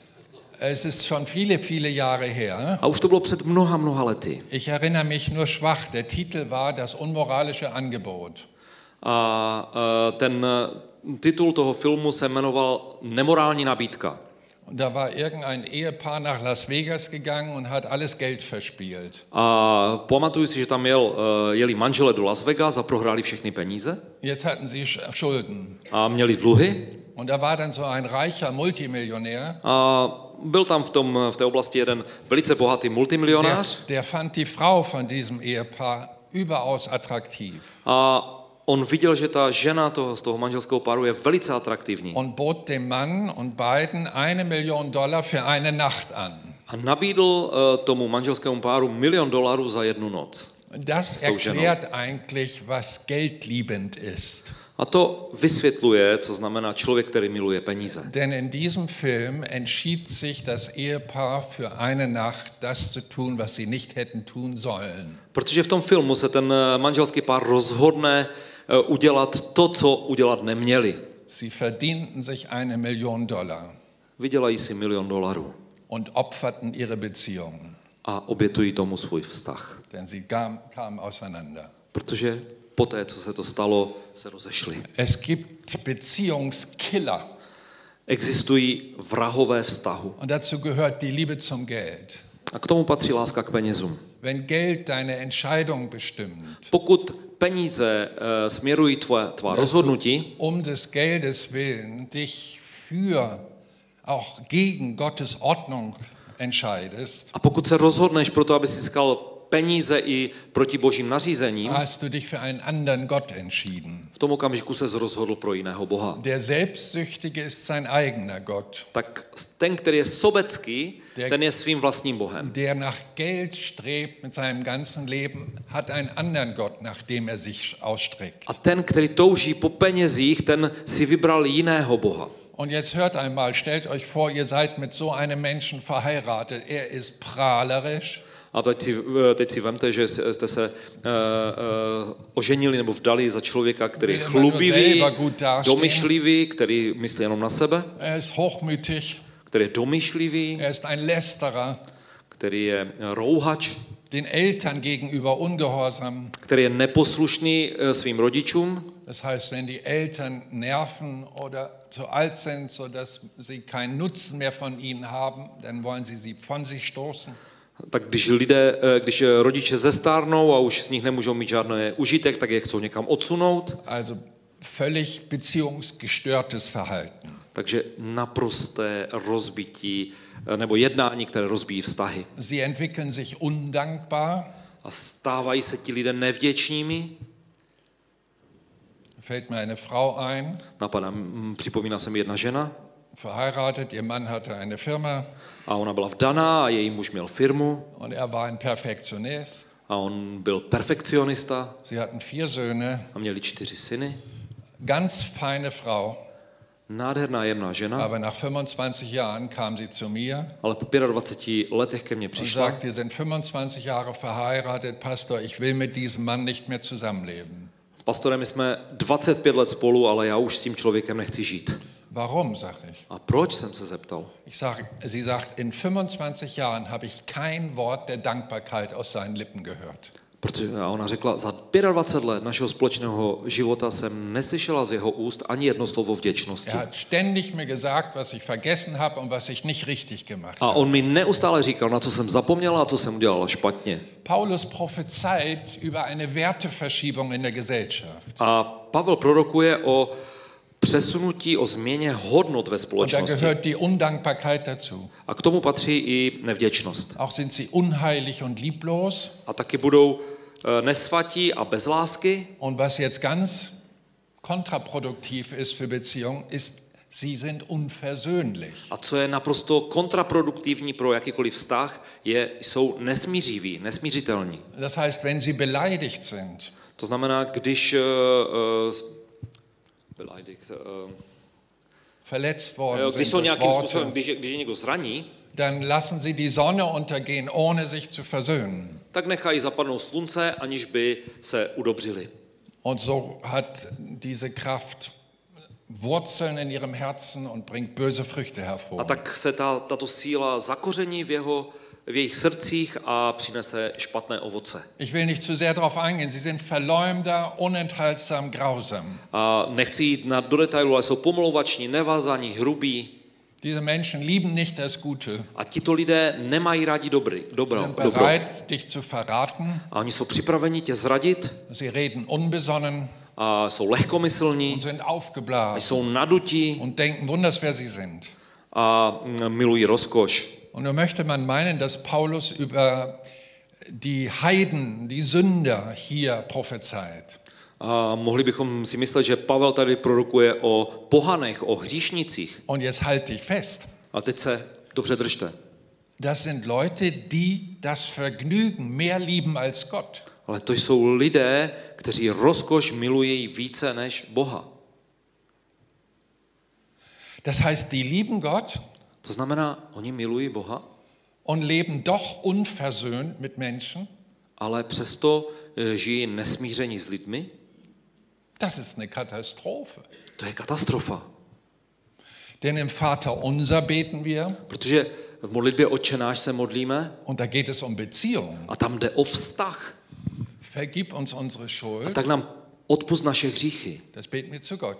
A: Es ist schon viele, viele Jahre her.
B: A už to bylo před mnoha, mnoha lety.
A: Ich erinnere mich nur schwach. Der Titel war Das unmoralische Angebot.
B: A eh, ten eh, titul toho filmu se jmenoval Nemorální nabídka.
A: Und da war irgendein Ehepaar nach Las Vegas gegangen und hat alles Geld verspielt.
B: A pamatuju si, že tam jel, eh, jeli manželé do Las Vegas a prohráli všechny peníze
A: Jetzt hatten sie Sch- Schulden.
B: a měli dluhy.
A: Und da war dann so ein reicher Multimillionär,
B: A byl tam v, tom, v té oblasti jeden velice bohatý
A: der,
B: multimilionář
A: der fand die Frau von diesem Ehepaar überaus attraktiv
B: a on viděl, že ta žena toho, z toho manželského páru je velice atraktivní
A: und bot dem Mann und beiden eine Million Dollar für eine Nacht an.
B: a nabídl eh, tomu manželskému páru milion dolarů za jednu noc.
A: Das
B: Stoßschäden.
A: erklärt eigentlich, was geldliebend ist.
B: A to vysvětluje, co znamená člověk, který miluje peníze.
A: Denn in diesem Film entschied sich das Ehepaar für eine Nacht, das zu tun, was sie nicht hätten tun sollen.
B: Protože v tom filmu se ten eh, manželský pár rozhodne eh, udělat to, co udělat neměli.
A: Sie verdienten sich eine Million Dollar
B: Vydělají si milion dolarů
A: und opferten ihre Beziehung,
B: a obětují tomu svůj vztah.
A: denn sie kam, kamen auseinander.
B: Protože poté, co se to stalo, se rozešli.
A: Es gibt Beziehungskiller
B: Existují vrahové vztahu.
A: und dazu gehört die Liebe zum Geld.
B: A k tomu patří láska k penězům.
A: Wenn Geld deine Entscheidung bestimmt,
B: Pokud peníze eh, směrují tvoje, tvá rozhodnutí,
A: um des Geldes willen dich für, auch gegen Gottes Ordnung entscheidest,
B: a pokud se rozhodneš pro to, aby si získal peníze i proti božím nařízením,
A: hast du dich für einen anderen Gott entschieden.
B: v tom okamžiku se rozhodl pro jiného boha.
A: Der Selbstsüchtige ist sein eigener Gott.
B: Tak ten, který je sobecký, ten je svým vlastním bohem.
A: Der nach Geld strebt mit seinem ganzen Leben, hat einen anderen Gott, nach dem er sich ausstreckt.
B: A ten, který touží po penězích, ten si vybral jiného boha.
A: Und jetzt hört einmal, stellt euch vor, ihr seid mit so einem Menschen verheiratet. Er ist prahlerisch,
B: A teď si, eh, teď si vemte, že jste se uh, uh, oženili nebo vdali za člověka, který je
A: Jeden
B: chlubivý,
A: manžel zeva gutářský.
B: domyšlivý, který myslí jenom na sebe,
A: er ist hochmütig,
B: který je domyšlivý,
A: er ist ein Lästerer,
B: který je eh, rouhač,
A: den Eltern gegenüber ungehorsam.
B: který je neposlušný eh, svým rodičům.
A: Das heißt, wenn die Eltern nerven oder zu alt sind, sodass sie keinen Nutzen mehr von ihnen haben, dann wollen sie sie von sich stoßen.
B: Tak když lidé, eh, když eh, rodiče zestárnou a už z nich nemůžou mít žádný užitek, tak je chcou někam odsunout.
A: Also völlig beziehungsgestörtes Verhalten.
B: Takže naprosté rozbití eh, nebo jednání, které rozbíjí vztahy.
A: Sie entwickeln sich undankbar.
B: A stávají se ti lidé nevděčními.
A: Da Fällt mir eine Frau ein,
B: Napadá, mm, připomíná se mi jedna žena
A: verheiratet, ihr Mann hatte eine Firma
B: a ona byla vdaná a její muž měl firmu
A: und er war ein Perfektionist.
B: a on byl perfekcionista
A: Sie hatten vier Söhne,
B: a měli čtyři syny.
A: ganz feine Frau,
B: Nádherná jemná žena,
A: aber nach 25 Jahren kam sie zu mir
B: ale po 25 letech ke mně
A: und
B: přišla
A: sagt, wir sind 25 Jahre verheiratet, Pastor, ich will mit diesem Mann nicht mehr zusammenleben.
B: Pastore, my jsme 25 let spolu, ale já už s tím člověkem nechci žít.
A: Warum, sage ich.
B: A proč jsem se zeptal?
A: ich sag, sie sagt, in 25 Jahren habe ich kein Wort der Dankbarkeit aus seinen Lippen gehört.
B: Protože a ona řekla, za 25 let našeho společného života jsem neslyšela z jeho úst ani jedno slovo vděčnosti.
A: Er hat ständig mir gesagt, was ich vergessen habe und was ich nicht richtig gemacht
B: A
A: habe.
B: on mi neustále říkal, na co jsem zapomněla a co jsem udělala špatně.
A: Paulus prophezeit über eine Werteverschiebung in der Gesellschaft.
B: A Pavel prorokuje o přesunutí, o změně hodnot ve
A: Und da
B: společnosti.
A: gehört die Undankbarkeit dazu.
B: A k tomu patří i nevděčnost.
A: Auch sind sie unheilig und lieblos.
B: A taky budou eh, nesvatí a bez lásky,
A: Und was jetzt ganz kontraproduktiv ist für Beziehungen, ist, sie sind unversöhnlich.
B: A co je naprosto kontraproduktivní pro jakýkoliv vztah, je, jsou nesmířiví, nesmířitelní.
A: Das heißt, wenn sie beleidigt sind,
B: To eh, znamená, když... Uh, uh,
A: verletzt worden
B: eh, Jo, Když
A: sind
B: jsou
A: durch
B: nějakým způsobem,
A: Worte,
B: když, je- když je někdo zraní,
A: dann lassen sie die Sonne untergehen, ohne sich zu versöhnen.
B: tak nechají zapadnout slunce, aniž by se udobřili.
A: Und so hat diese Kraft Wurzeln in ihrem Herzen und bringt böse Früchte
B: A
A: hervor.
B: tak se ta, tato síla zakoření v, jeho, v jejich srdcích a přinese špatné ovoce.
A: Ich will nicht zu sehr darauf eingehen. Sie sind Verleumder, unenthaltsam, grausam.
B: A nechci jít na, do detailu, ale jsou pomlouvační, nevázaní, hrubí.
A: Diese Menschen lieben nicht das Gute.
B: A tito lidé nemají rádi dobrý,
A: Sie
B: dobro,
A: sind
B: dobro.
A: bereit, dich zu verraten.
B: A oni jsou připraveni tě zradit,
A: Sie reden unbesonnen
B: a jsou lehkomyslní,
A: und sind
B: a
A: aufgeblasen
B: jsou nadutí
A: und denken wunders, wer sie sind.
B: a mm, milují rozkoš.
A: Und nun möchte man meinen, dass Paulus über die Heiden, die Sünder hier prophezeit.
B: A mohli bychom si myslet, že Pavel tady prorokuje o pohanech, o hříšnicích.
A: Und jetzt halt dich fest.
B: A teď se dobře držte.
A: Das sind Leute, die das Vergnügen mehr lieben als Gott.
B: Ale to jsou lidé, kteří rozkoš milují více než Boha.
A: Das heißt, die lieben Gott
B: To znamená, oni milují Boha,
A: und leben doch unversöhnt mit Menschen.
B: ale přesto eh, žijí nesmíření s lidmi.
A: Das ist eine Katastrophe.
B: To je katastrofa.
A: Denn im Vater unser beten wir
B: Protože v modlitbě Otče náš se modlíme
A: und da geht es um Beziehungen.
B: a tam jde o vztah.
A: Vergib uns unsere
B: A
A: Schuld.
B: tak nám odpust naše hříchy.
A: Das beten wir zu Gott.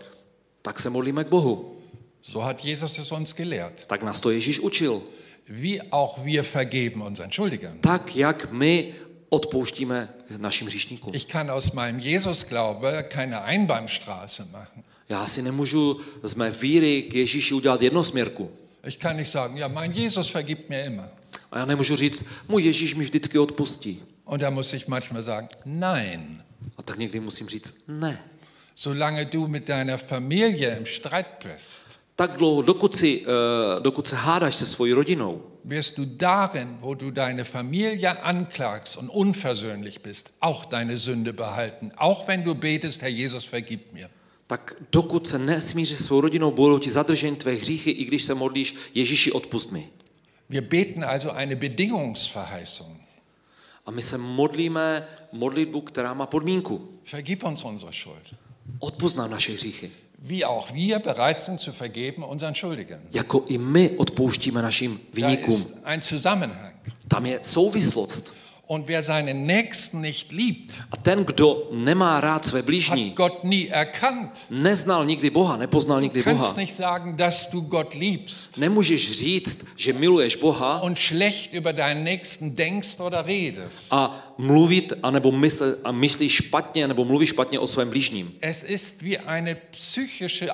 B: Tak se modlíme k Bohu.
A: So hat Jesus es uns gelehrt.
B: Tak nás to Ježíš učil.
A: Wie auch wir vergeben unseren Schuldigern.
B: Tak, jak my odpouštíme našim hříšníkům.
A: Ich kann aus meinem Jesus-Glaube keine Einbahnstraße machen.
B: Já si nemůžu z mé víry k Ježíši udělat jednosměrku.
A: Ich kann nicht sagen, ja, mein Jesus vergibt mir immer.
B: A já nemůžu říct, můj Ježíš mi vždycky odpustí.
A: Und da muss ich manchmal sagen, nein.
B: A tak někdy musím říct, ne.
A: Solange du mit deiner Familie im Streit bist,
B: Tak dlouho, dokud, si, eh, dokud se hádáš se svojí rodinou,
A: wirst du darin, wo du deine Familie anklagst und unversöhnlich bist, auch deine Sünde behalten. Auch wenn du betest, Herr Jesus, vergib mir.
B: tak dokud se nesmíří s svou rodinou, budou ti zadrženy tvé hříchy, i když se modlíš, Ježíši, odpust mi.
A: Wir beten also eine Bedingungsverheißung.
B: A my se modlíme modlitbu, která má podmínku.
A: Vergib uns unsere Schuld.
B: Odpust nám naše hříchy.
A: Wie auch wir bereit sind zu vergeben unseren Schuldigen.
B: Jako i my odpouštíme našim
A: Da
B: viníkům.
A: ist ein Zusammenhang.
B: Tam je souvislost.
A: Und wer seinen Nächsten nicht liebt,
B: A ten, kdo nemá rád své
A: hat
B: blížní,
A: Gott nie erkannt.
B: neznal nikdy Boha, nepoznal
A: Du
B: nikdy Boha.
A: kannst nicht sagen, dass du Gott liebst
B: Nemůžeš říct, že miluješ Boha
A: und schlecht über deinen Nächsten denkst oder redest.
B: a mluvit, anebo mysl, a myslíš špatně, nebo mluvíš špatně o svém blížním.
A: Es ist wie eine psychische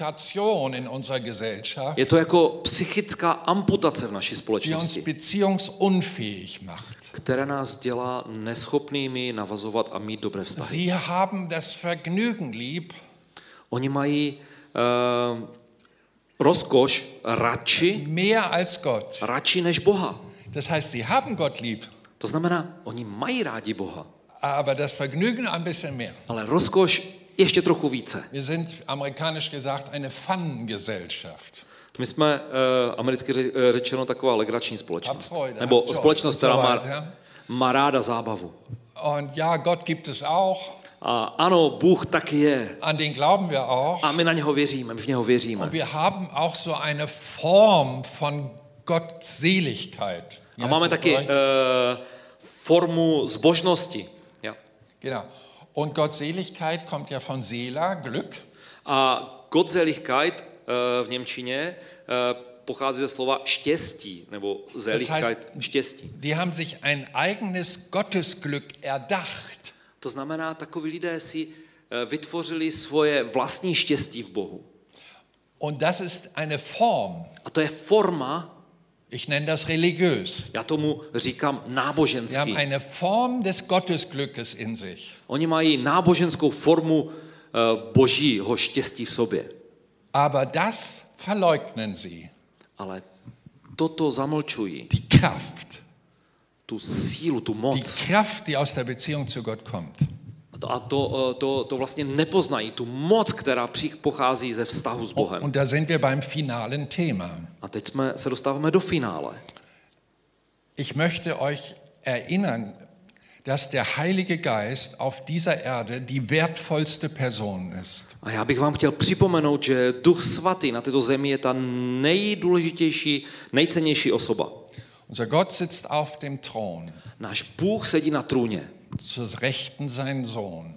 A: Amputation in unserer Gesellschaft,
B: Je to jako psychická amputace v naší
A: die uns
B: společnosti,
A: beziehungsunfähig macht.
B: která nás dělá neschopnými navazovat a mít dobré vztahy.
A: Sie haben das Vergnügen lieb,
B: Oni mají uh, rozkoš radši,
A: mehr als Gott.
B: radši než Boha.
A: Das heißt, sie haben Gott lieb,
B: To znamená, oni mají rádi Boha,
A: aber das Vergnügen ein bisschen mehr.
B: ale rozkoš ještě trochu více.
A: Wir sind amerikanisch gesagt eine Fun-Gesellschaft.
B: My jsme eh, americky ře- eh, řečeno taková legrační společnost.
A: Abfreude,
B: Nebo
A: abjoy,
B: společnost, která má,
A: abjoy, ja.
B: má ráda zábavu.
A: Und ja, Gott gibt es auch,
B: A ano, Bůh taky je.
A: an den glauben wir auch.
B: A my na něho věříme, my v něho věříme.
A: Und wir haben auch so eine Form von Gottseligkeit.
B: A máme taky eh, formu zbožnosti. Ja.
A: genau. Und Gottseligkeit kommt ja von Sela, Glück.
B: A Gottseligkeit eh, v Němčině eh, pochází ze slova štěstí, nebo Seligkeit, štěstí.
A: Die haben sich ein eigenes Gottesglück erdacht.
B: To znamená, takoví lidé si eh, vytvořili svoje vlastní štěstí v Bohu.
A: Und das ist eine Form,
B: A to je forma
A: ich nenne das religiös.
B: Já tomu říkám
A: Sie haben
B: náboženský.
A: eine Form des Gottesglückes in sich.
B: Oni mají náboženskou formu eh, božího štěstí v sobě.
A: Aber das verleugnen sie.
B: Ale toto zamlčují,
A: Die Kraft.
B: tu sílu, tu
A: Die
B: moc,
A: Kraft, die aus der Beziehung zu Gott kommt.
B: a to, eh, to, to vlastně nepoznají, tu moc, která při- pochází ze vztahu s Bohem.
A: Und da sind wir beim finalen Thema.
B: A teď jsme se dostáváme do finále.
A: Ich möchte euch erinnern, dass der Heilige Geist auf dieser Erde die wertvollste Person ist.
B: A já bych vám chtěl připomenout, že Duch Svatý na této zemi je ta nejdůležitější, nejcennější osoba.
A: Unser Gott sitzt auf dem Thron,
B: Náš Bůh sedí na trůně
A: zur Rechten sein Sohn.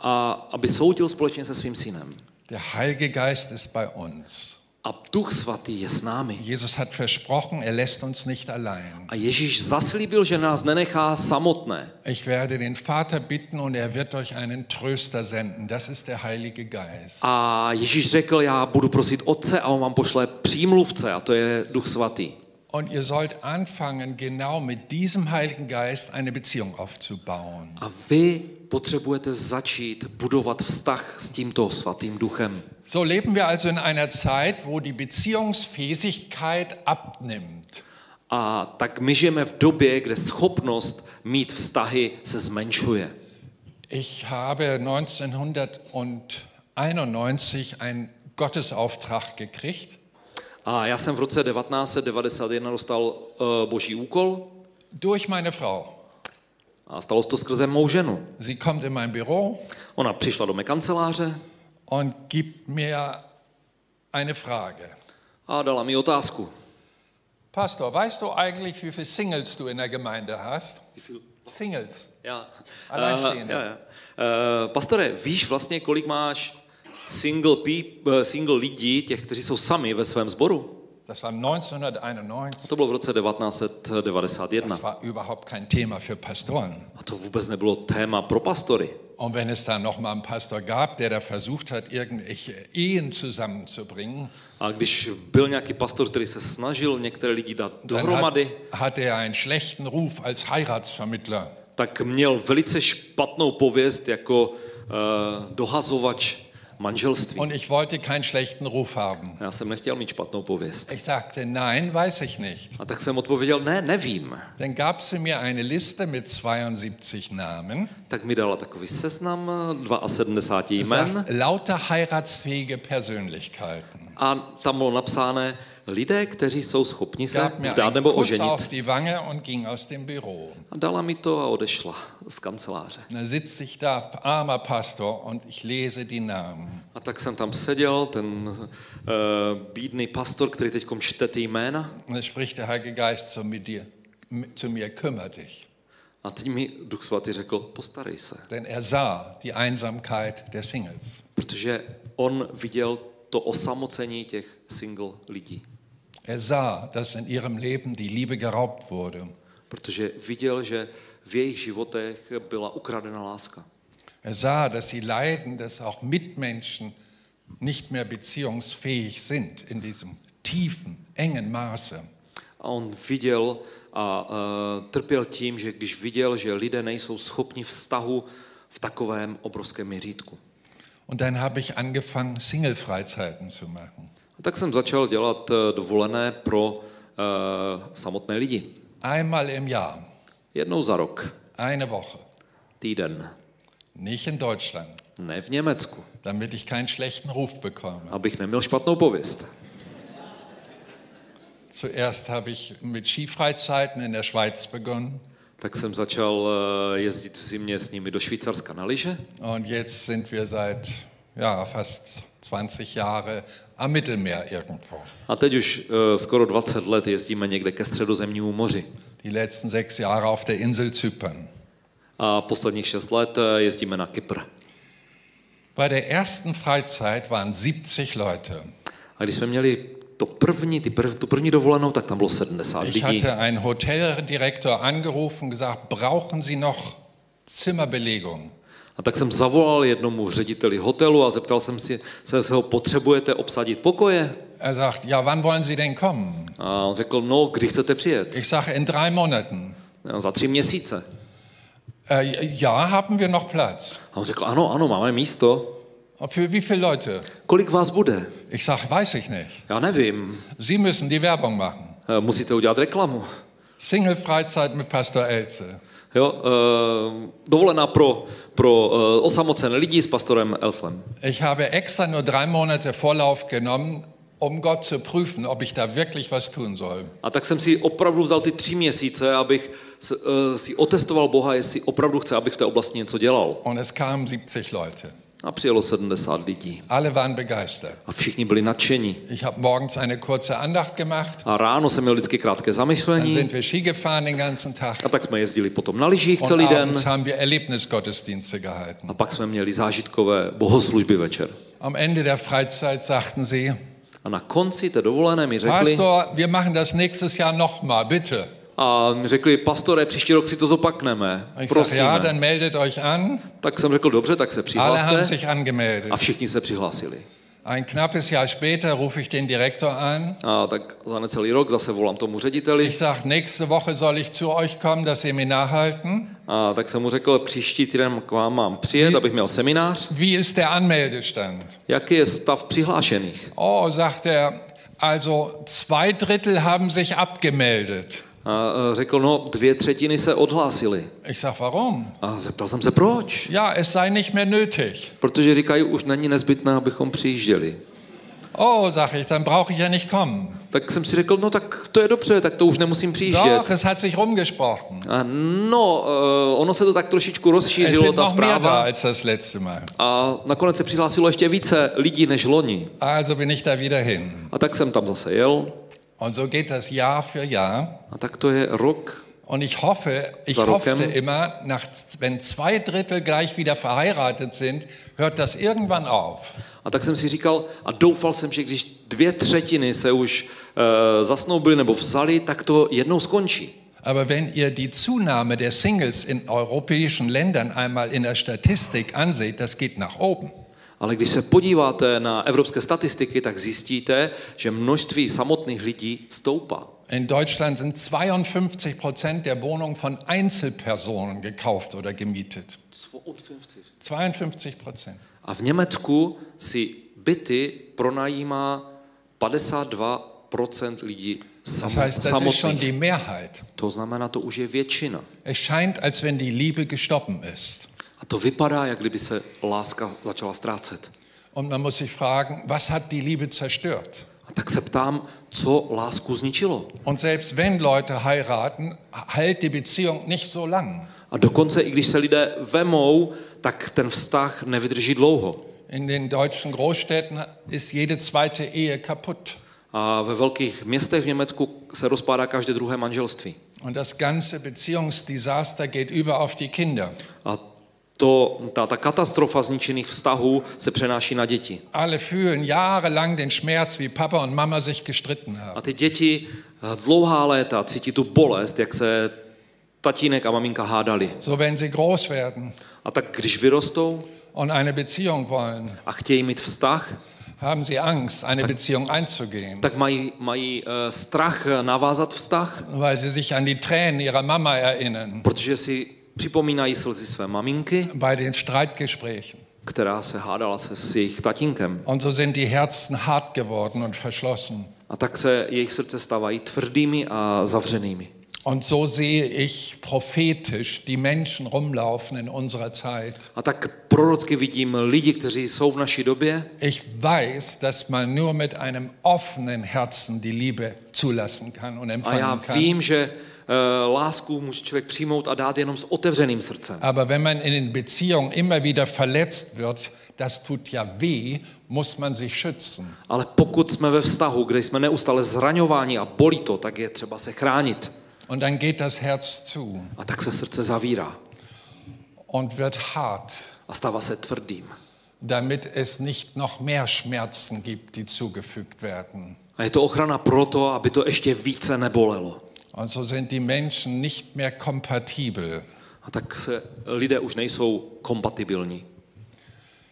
B: a aby soudil společně se svým synem.
A: Der Heilige Geist ist bei uns.
B: A Duch Svatý je s námi.
A: Jesus hat versprochen, er lässt uns nicht allein.
B: A Ježíš zaslíbil, že nás nenechá samotné.
A: Ich werde den Vater bitten und er wird euch einen Tröster senden. Das ist der Heilige Geist.
B: A Ježíš řekl, já budu prosit Otce a on vám pošle přímluvce a to je Duch Svatý.
A: Und ihr sollt anfangen, genau mit diesem Heiligen Geist eine Beziehung aufzubauen.
B: A vy potřebujete začít budovat vztah s tímto svatým duchem.
A: So leben wir also in einer Zeit, wo die Beziehungsfähigkeit abnimmt.
B: A tak my žijeme v době, kde schopnost mít vztahy se zmenšuje.
A: Ich habe 1991 einen Gottesauftrag gekriegt.
B: A já jsem v roce 1991 dostal uh, boží úkol
A: Durch meine Frau.
B: a stalo se to skrze mou ženu.
A: Sie kommt in mein Büro
B: Ona přišla do mé kanceláře
A: und gibt mir eine Frage.
B: a dala mi otázku.
A: Pastor, weißt du eigentlich, wie viele Singles du in der Gemeinde hast? Singles.
B: Já,
A: Alleinstehende.
B: já, já. Eh, pastore, víš vlastně, kolik máš single, peop, eh, single lidí, těch, kteří jsou sami ve svém sboru?
A: Das war 1991.
B: To bylo v roce 1991.
A: Das war überhaupt kein Thema für Pastoren.
B: A to vůbec nebylo téma pro pastory.
A: Und wenn es da noch mal einen Pastor gab, der da versucht hat, irgendwelche Ehen zusammenzubringen,
B: A když byl nějaký pastor, který se snažil některé lidi
A: dann
B: dát
A: hat,
B: dohromady,
A: hatte er einen schlechten Ruf als Heiratsvermittler.
B: tak měl velice špatnou pověst jako uh, dohazovač manželství.
A: Und ich wollte keinen schlechten Ruf haben.
B: Já jsem nechtěl mít špatnou pověst.
A: Ich sagte, nein, weiß ich nicht.
B: A tak jsem odpověděl, ne, nevím.
A: Dann gab sie mir eine Liste mit 72 Namen.
B: Tak mi dala takový seznam eh, 72 jmen.
A: Sagt, lauter heiratsfähige Persönlichkeiten.
B: A tam bylo napsáno lidé, kteří jsou schopni se
A: Gab mir
B: vdát
A: einen
B: nebo
A: Kuss
B: oženit.
A: auf die Wange und ging aus dem Büro.
B: A dala mi to a odešla z kanceláře.
A: Und dann sitze ich da, armer Pastor, und ich lese die Namen.
B: A tak jsem tam seděl, ten uh, bídný pastor, který teď čte ty jména.
A: Und dann spricht der Heilige Geist zu mir, dir, m- zu mir, kümmere dich.
B: A teď mi Duch Svatý řekl, postarej se.
A: Denn er sah die Einsamkeit der Singles.
B: Protože on viděl to osamocení těch single lidí.
A: Er sah, dass in ihrem Leben die Liebe geraubt wurde.
B: Protože viděl, že v jejich životech byla ukradena láska.
A: Er sah, dass sie leiden, dass auch Mitmenschen nicht mehr beziehungsfähig sind in diesem tiefen, engen Maße.
B: A on viděl a uh, trpěl tím, že když viděl, že lidé nejsou schopni vztahu v takovém obrovském měřítku.
A: Und dann habe ich angefangen, Single-Freizeiten zu machen.
B: A tak jsem začal dělat eh, dovolené pro uh, samotné lidi.
A: Einmal im Jahr,
B: Jednou za rok,
A: eine Woche,
B: týden,
A: nicht in Deutschland,
B: ne v Německu,
A: damit ich keinen schlechten Ruf bekomme.
B: abych neměl špatnou pověst.
A: Zuerst habe ich mit Skifreizeiten in der Schweiz begonnen
B: Tak jsem začal eh, jezdit v zimě s nimi do Švýcarska na lyže
A: und jetzt sind wir seit ja, fast 20 Jahren am Mittelmeer irgendwo.
B: a teď už eh, skoro 20 let jezdíme někde ke středozemnímu moři.
A: Die letzten sechs Jahre auf der Insel Zypern.
B: A posledních 6 let eh, jezdíme na Kypr.
A: Bei der ersten Freizeit waren 70 Leute.
B: A když jsme měli to první, ty prv, tu první dovolenou, tak tam bylo 70
A: Ich
B: lidí.
A: hatte einen Hoteldirektor angerufen und gesagt, brauchen Sie noch Zimmerbelegung?
B: A tak jsem zavolal jednomu řediteli hotelu a zeptal jsem si, se, se ho potřebujete obsadit pokoje?
A: Er sagt, ja, wann wollen Sie denn kommen?
B: A on řekl, no, kdy chcete přijet?
A: Ich sage, in drei Monaten.
B: A za tři měsíce.
A: Äh, ja, haben wir noch Platz.
B: A on řekl, ano, ano, máme místo.
A: Für wie viele Leute?
B: Kolik vás bude?
A: Ich sage, weiß ich nicht.
B: Já nevím.
A: Sie müssen die Werbung machen.
B: E, Musíte udělat reklamu.
A: Single-Freizeit mit Pastor Elze.
B: Jo, eh, dovolená pro, pro eh, osamocené lidi s pastorem Elslem.
A: Ich habe extra nur drei Monate Vorlauf genommen, um Gott zu prüfen, ob ich da wirklich was tun soll.
B: A tak jsem si opravdu vzal ty tři měsíce, abych s- eh, si otestoval Boha, jestli opravdu chce, abych v té oblasti něco dělal.
A: Und es kamen 70 Leute.
B: A přijelo 70 lidí.
A: Alle waren begeistert.
B: A všichni byli nadšení.
A: Ich habe morgens eine kurze Andacht gemacht.
B: A ráno jsem měl vždycky krátké
A: Dann
B: zamyšlení.
A: sind wir Ski gefahren den ganzen Tag.
B: A tak jsme jezdili potom na lyžích
A: Und
B: celý den.
A: abends haben wir Erlebnisgottesdienste gehalten.
B: A pak jsme měli zážitkové bohoslužby večer.
A: Am Ende der Freizeit sagten sie,
B: A na konci té dovolené mi řekli,
A: Pastor, wir machen das nächstes Jahr nochmal, bitte.
B: a mi řekli, pastore, příští rok si to zopakneme,
A: Und ich sage, ja,
B: prosíme.
A: dann meldet euch an.
B: Tak jsem řekl, dobře, tak se
A: Alle haben
B: přihlaste.
A: sich angemeldet.
B: A všichni se přihlásili.
A: Ein knappes Jahr später rufe ich den Direktor an.
B: A tak za necelý rok zase volám tomu řediteli
A: Ich sage, nächste Woche soll ich zu euch kommen, das Seminar halten.
B: a tak jsem mu řekl, příští týden k vám mám přijet, abych měl seminář.
A: Wie ist der Anmeldestand?
B: Jaký je stav přihlášených?
A: Oh, sagt er, also zwei Drittel haben sich abgemeldet.
B: A e, řekl, no dvě třetiny se odhlásili.
A: Ich sage, warum?
B: A zeptal jsem se, proč?
A: Ja, es sei nicht mehr nötig.
B: Protože říkají, už není nezbytné, abychom přijížděli.
A: Oh, sage ich, dann brauche ich ja nicht kommen.
B: Tak jsem si řekl, no tak to je dobře, tak to už nemusím přijíždět.
A: Doch, es hat sich rumgesprochen.
B: A no, e, ono se to tak trošičku
A: Es
B: rozšířilo,
A: sind
B: ta
A: noch mehr da
B: zpráva.
A: als das letzte Mal.
B: A nakonec se přihlásilo ještě více lidí než loni.
A: Also bin ich da wieder hin.
B: A tak jsem tam zase jel.
A: Und so geht das Jahr für Jahr.
B: A tak to je rok.
A: Und ich hoffe, ich
B: Warum?
A: hoffte immer, nach, wenn zwei Drittel gleich wieder verheiratet sind, hört das irgendwann auf.
B: A tak jsem si říkal a doufal jsem, že když dvě třetiny se už e, zasnoubily nebo vzali, tak to jednou skončí.
A: Aber wenn ihr die Zunahme der Singles in europäischen Ländern einmal in der Statistik anseht, das geht nach oben.
B: Ale když se podíváte na evropské statistiky, tak zjistíte, že množství samotných lidí stoupá.
A: In Deutschland sind 52 Prozent der Wohnungen von Einzelpersonen gekauft oder gemietet. 52 Prozent.
B: A v Německu si byty pronajímá 52% lidí
A: Das
B: samo,
A: heißt, das ist schon
B: samotných.
A: die Mehrheit.
B: To znamená, to už je většina.
A: Es scheint, als wenn die Liebe gestorben ist.
B: A to vypadá, jak kdyby se láska začala ztrácet.
A: Und man muss sich fragen, was hat die Liebe zerstört?
B: A tak se ptám, co lásku zničilo.
A: Und selbst wenn Leute heiraten, hält die Beziehung nicht so lang.
B: A dokonce, i když se lidé vemou, tak ten vztah nevydrží dlouho.
A: In den deutschen Großstädten ist jede zweite Ehe kaputt.
B: A ve velkých městech v Německu se rozpadá každé druhé manželství.
A: Und das ganze Beziehungsdesaster geht über auf die Kinder.
B: A to, ta, ta katastrofa zničených vztahů se přenáší na děti.
A: Alle fühlen jahrelang den Schmerz, wie Papa und Mama sich gestritten haben.
B: A ty děti eh, dlouhá léta cítí tu bolest, jak se tatínek a maminka hádali.
A: So, wenn sie groß werden
B: A tak když vyrostou
A: und eine Beziehung wollen,
B: a chtějí mít vztah,
A: haben sie Angst, eine Beziehung einzugehen,
B: tak mají, mají eh, strach navázat vztah,
A: weil sie sich an die Tränen ihrer Mama erinnern
B: protože si připomínají slzy své maminky,
A: bei den Streitgesprächen.
B: která se hádala se s jejich tatínkem.
A: Und so sind die Herzen hart geworden und verschlossen.
B: A tak se jejich srdce stávají tvrdými a zavřenými.
A: Und so sehe ich prophetisch die Menschen rumlaufen in unserer Zeit.
B: A tak prorocky vidím lidi, kteří jsou v naší době,
A: Ich weiß, dass man nur mit einem offenen Herzen die Liebe zulassen kann und
B: A já
A: empfangen kann.
B: vím, že eh, lásku může člověk přijmout a dát jenom s otevřeným srdcem.
A: Aber wenn man in den Beziehungen immer wieder verletzt wird, das tut ja weh, muss man sich schützen.
B: Ale pokud jsme ve vztahu, kde jsme neustále zraňováni a bolí to, tak je třeba se chránit.
A: Und dann geht das Herz zu
B: A tak se srdce zavírá
A: und wird hart,
B: a stává se tvrdým.
A: damit es nicht noch mehr Schmerzen gibt, die zugefügt werden.
B: A je to ochrana proto, aby to ještě více nebolelo.
A: Und so Also sind die Menschen nicht mehr kompatibel.
B: A tak se lidé už nejsou kompatibilní.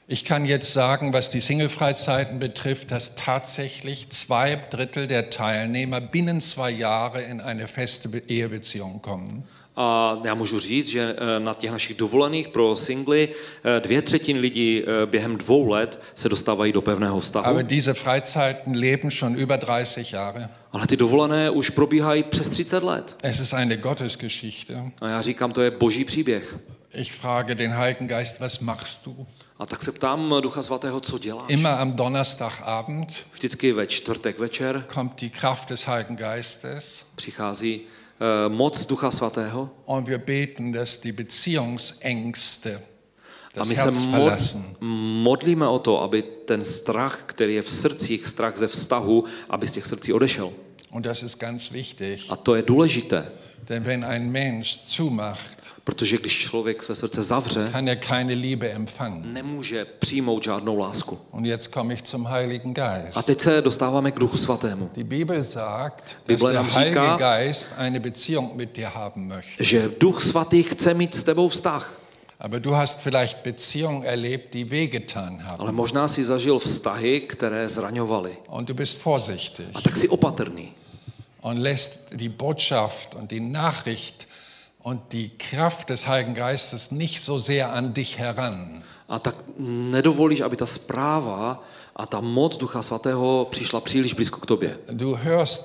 A: Ich kann jetzt sagen, was die Single-Freizeiten betrifft, dass tatsächlich zwei Drittel der Teilnehmer binnen zwei Jahre in eine feste Be- Ehebeziehung kommen.
B: A já můžu říct, že eh, na těch našich dovolených pro singly eh, dvě třetiny lidí eh, během dvou let se dostávají do pevného vztahu.
A: Aber diese Freizeiten leben schon über 30 Jahre.
B: Ale ty dovolené už probíhají přes 30 let.
A: Es ist eine Gottesgeschichte.
B: A já říkám, to je boží příběh.
A: Ich frage den Heiligen Geist, was machst du?
B: A tak se ptám Ducha Svatého, co děláš.
A: Immer am Donnerstagabend
B: Vždycky ve čtvrtek večer
A: kommt die Kraft des Heiligen Geistes
B: přichází eh, moc Ducha Svatého
A: und wir beten, dass die Beziehungsängste
B: a
A: das
B: my se
A: Herz
B: mod,
A: verlassen.
B: modlíme o to, aby ten strach, který je v srdcích, strach ze vztahu, aby z těch srdcí odešel.
A: Und das ist ganz wichtig.
B: A to je důležité,
A: Denn wenn ein Mensch zumacht,
B: protože když člověk své srdce zavře,
A: kann er keine Liebe empfangen.
B: nemůže přijmout žádnou lásku.
A: Und jetzt komme ich zum Heiligen
B: A
A: Geist.
B: teď se dostáváme k Duchu Svatému.
A: Die Bibel sagt, dass
B: Bibel
A: der
B: nám
A: Heilige
B: říká-
A: Geist eine Beziehung mit dir haben möchte.
B: Že Duch Svatý chce mít s tebou vztah.
A: Aber du hast vielleicht Beziehungen erlebt, die wehgetan haben.
B: Ale možná si zažil vztahy, které zraňovaly.
A: Und du bist vorsichtig
B: A tak si opatrný.
A: und lässt die Botschaft und die Nachricht und die Kraft des Heiligen Geistes nicht so sehr an dich heran.
B: A tak nedovolíš, aby ta zpráva a ta moc Ducha Svatého přišla příliš blízko k tobě.
A: Du hörst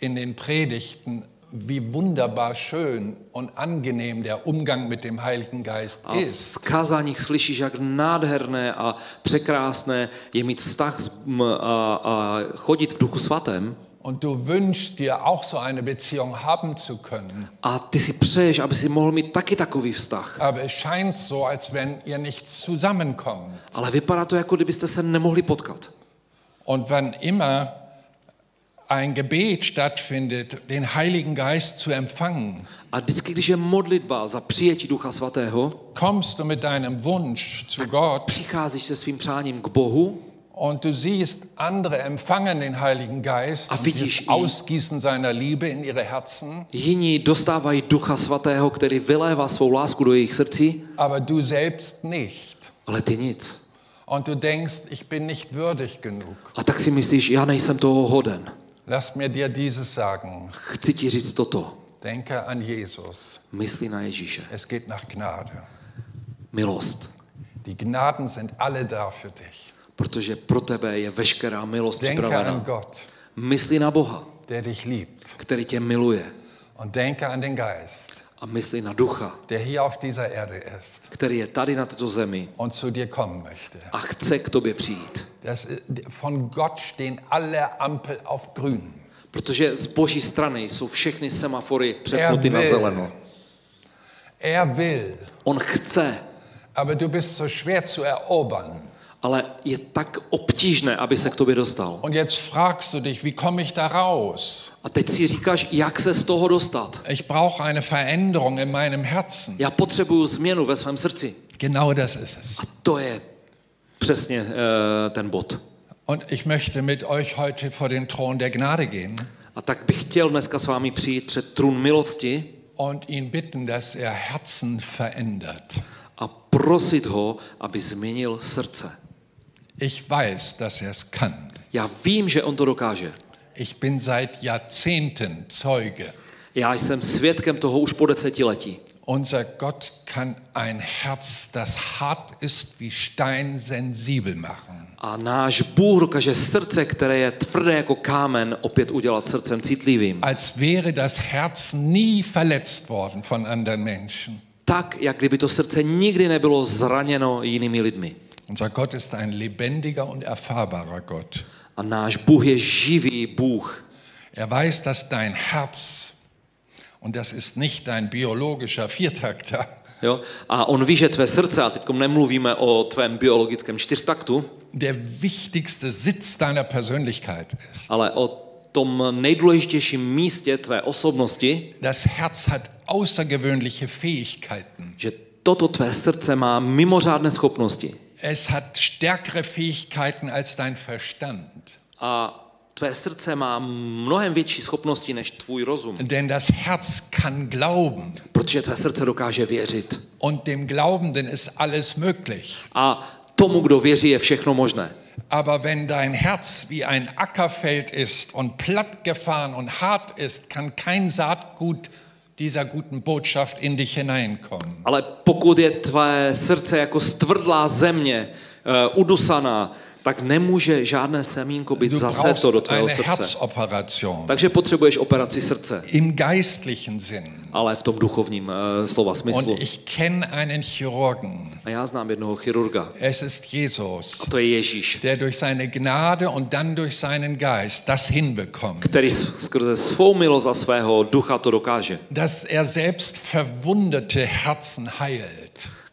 A: in den Predigten, wie wunderbar schön und angenehm der Umgang mit dem Heiligen Geist
B: A
A: ist.
B: v kázáních slyšíš, jak nádherné a překrásné je mít vztah s, m, a, a chodit v Duchu Svatém.
A: Und du wünschst dir auch so eine Beziehung haben zu können.
B: A ty si přeješ, aby si mohl mít taky takový vztah.
A: Aber es scheint so, als wenn ihr nicht zusammenkommt.
B: Ale vypadá to, jako kdybyste se nemohli potkat.
A: Und wann immer ein Gebet stattfindet, den Heiligen Geist zu empfangen,
B: A vždycky, když je modlitba za přijetí Ducha Svatého,
A: kommst du mit deinem Wunsch zu Gott
B: přicházíš se svým přáním k Bohu
A: und du siehst, andere empfangen den Heiligen Geist
B: Ah,
A: und
B: wirklich?
A: dieses Ausgießen seiner Liebe in ihre Herzen,
B: Jiní dostávají Ducha Svatého, který vylévá svou lásku do jejich srdcí,
A: aber du selbst nicht.
B: ale ty nic.
A: Und du denkst, ich bin nicht würdig genug.
B: A tak si myslíš, já nejsem toho hoden.
A: Lass mir dir dieses sagen.
B: Chci ti říct toto.
A: Denke an Jesus.
B: Myslí na Ježíše.
A: Es geht nach Gnade.
B: Milost.
A: Die Gnaden sind alle da für dich.
B: Protože pro tebe je veškerá milost
A: Denke an
B: připravena.
A: Gott,
B: Myslí na Boha,
A: der dich liebt.
B: který tě miluje.
A: Und denke an den Geist,
B: A myslí na Ducha,
A: der hier auf dieser Erde ist
B: který je tady na této zemi
A: und zu dir kommen möchte.
B: a chce k tobě přijít.
A: Das, ist- von Gott stehen alle Ampel auf grün.
B: Protože z boží strany jsou všechny semafory přepnuty na
A: Amen.
B: zeleno.
A: Er will,
B: On chce,
A: aber du bist so schwer zu erobern.
B: ale je tak obtížné, aby se k tobě dostal.
A: Und jetzt fragst du dich, wie komme ich da raus?
B: A teď si říkáš, jak se z toho dostat.
A: Ich brauche eine Veränderung in meinem Herzen.
B: Já potřebuju změnu ve svém srdci.
A: Genau das ist es.
B: A to je přesně uh, ten bod.
A: Und ich möchte mit euch heute vor den Thron der Gnade gehen
B: A tak bych chtěl dneska s vámi přijít před trůn milosti
A: und ihn bitten, dass er Herzen verändert.
B: a prosit ho, aby změnil srdce.
A: Ich weiß, dass er es kann.
B: Já vím, že on to dokáže.
A: Ich bin seit Jahrzehnten Zeuge.
B: Já jsem svědkem toho už po desetiletí.
A: Unser Gott kann ein Herz, das hart ist wie Stein, sensibel machen.
B: A náš Bůh dokáže srdce, které je tvrdé jako kámen, opět udělat srdcem citlivým.
A: Als wäre das Herz nie verletzt worden von anderen Menschen.
B: Tak, jak kdyby to srdce nikdy nebylo zraněno jinými lidmi.
A: Unser Gott ist ein lebendiger und erfahrbarer Gott.
B: A náš Bůh je živý Bůh.
A: Er weiß, dass dein Herz, und das ist nicht dein biologischer Viertakter,
B: Jo? A on ví, že tvé srdce, a teď nemluvíme o tvém biologickém čtyřtaktu,
A: der wichtigste Sitz deiner Persönlichkeit ist.
B: ale o tom nejdůležitějším místě tvé osobnosti,
A: Das Herz hat außergewöhnliche Fähigkeiten.
B: že toto tvé srdce má mimořádné schopnosti.
A: Es hat stärkere Fähigkeiten als dein Verstand.
B: A tvé srdce má mnohem větší schopnosti než tvůj rozum,
A: Denn das Herz kann glauben
B: protože tvé srdce dokáže věřit.
A: und dem Glaubenden ist alles möglich.
B: A Tomu, kdo věří, je všechno možné.
A: Aber wenn dein Herz wie ein Ackerfeld ist und plattgefahren und hart ist, kann kein Saatgut dieser guten Botschaft in dich hineinkommen.
B: Ale pokud je tvé srdce jako stvrdlá země, eh, udusaná, tak nemůže žádné semínko být
A: Du
B: zaseto do
A: brauchst
B: tvého
A: eine
B: srdce.
A: Herzoperation
B: Takže potřebuješ operaci srdce,
A: im geistlichen Sinn.
B: ale v tom duchovním eh, slova
A: Und
B: smyslu.
A: ich kenne einen Chirurgen.
B: A já znám jednoho chirurga.
A: Es ist Jesus,
B: To je Ježíš,
A: der durch seine Gnade und dann durch seinen Geist das hinbekommt,
B: který s- skrze svou milost a svého ducha to dokáže.
A: dass er selbst verwundete Herzen heilt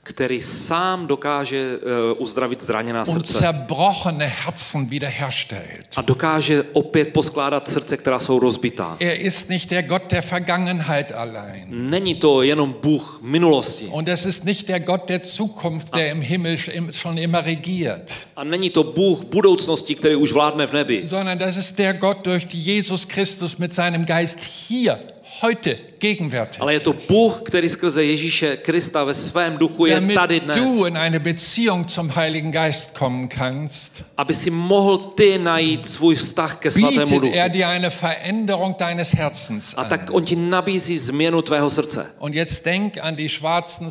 B: Který sám dokáže eh, uzdravit zraněná
A: und
B: srdce.
A: zerbrochene Herzen wiederherstellt.
B: A dokáže opět poskládat srdce, která jsou rozbitá.
A: Er ist nicht der Gott der Vergangenheit allein.
B: Není to jenom Bůh minulosti.
A: Und es ist nicht der Gott der Zukunft, der im Himmel schon immer regiert,
B: A není to Bůh budoucnosti, který už vládne v nebi,
A: sondern das ist der Gott, durch die Jesus Christus mit seinem Geist hier, heute, gegenwärtig.
B: ale je to Bůh, který skrze Ježíše Krista ve svém duchu je
A: Damit
B: tady dnes,
A: du in eine Beziehung zum Heiligen Geist kommen kannst,
B: aby si mohl ty najít svůj vztah ke svatému
A: bietet
B: duchu.
A: er dir eine Veränderung deines Herzens
B: A
A: an.
B: tak on ti nabízí změnu tvého srdce.
A: Und jetzt denk an die schwarzen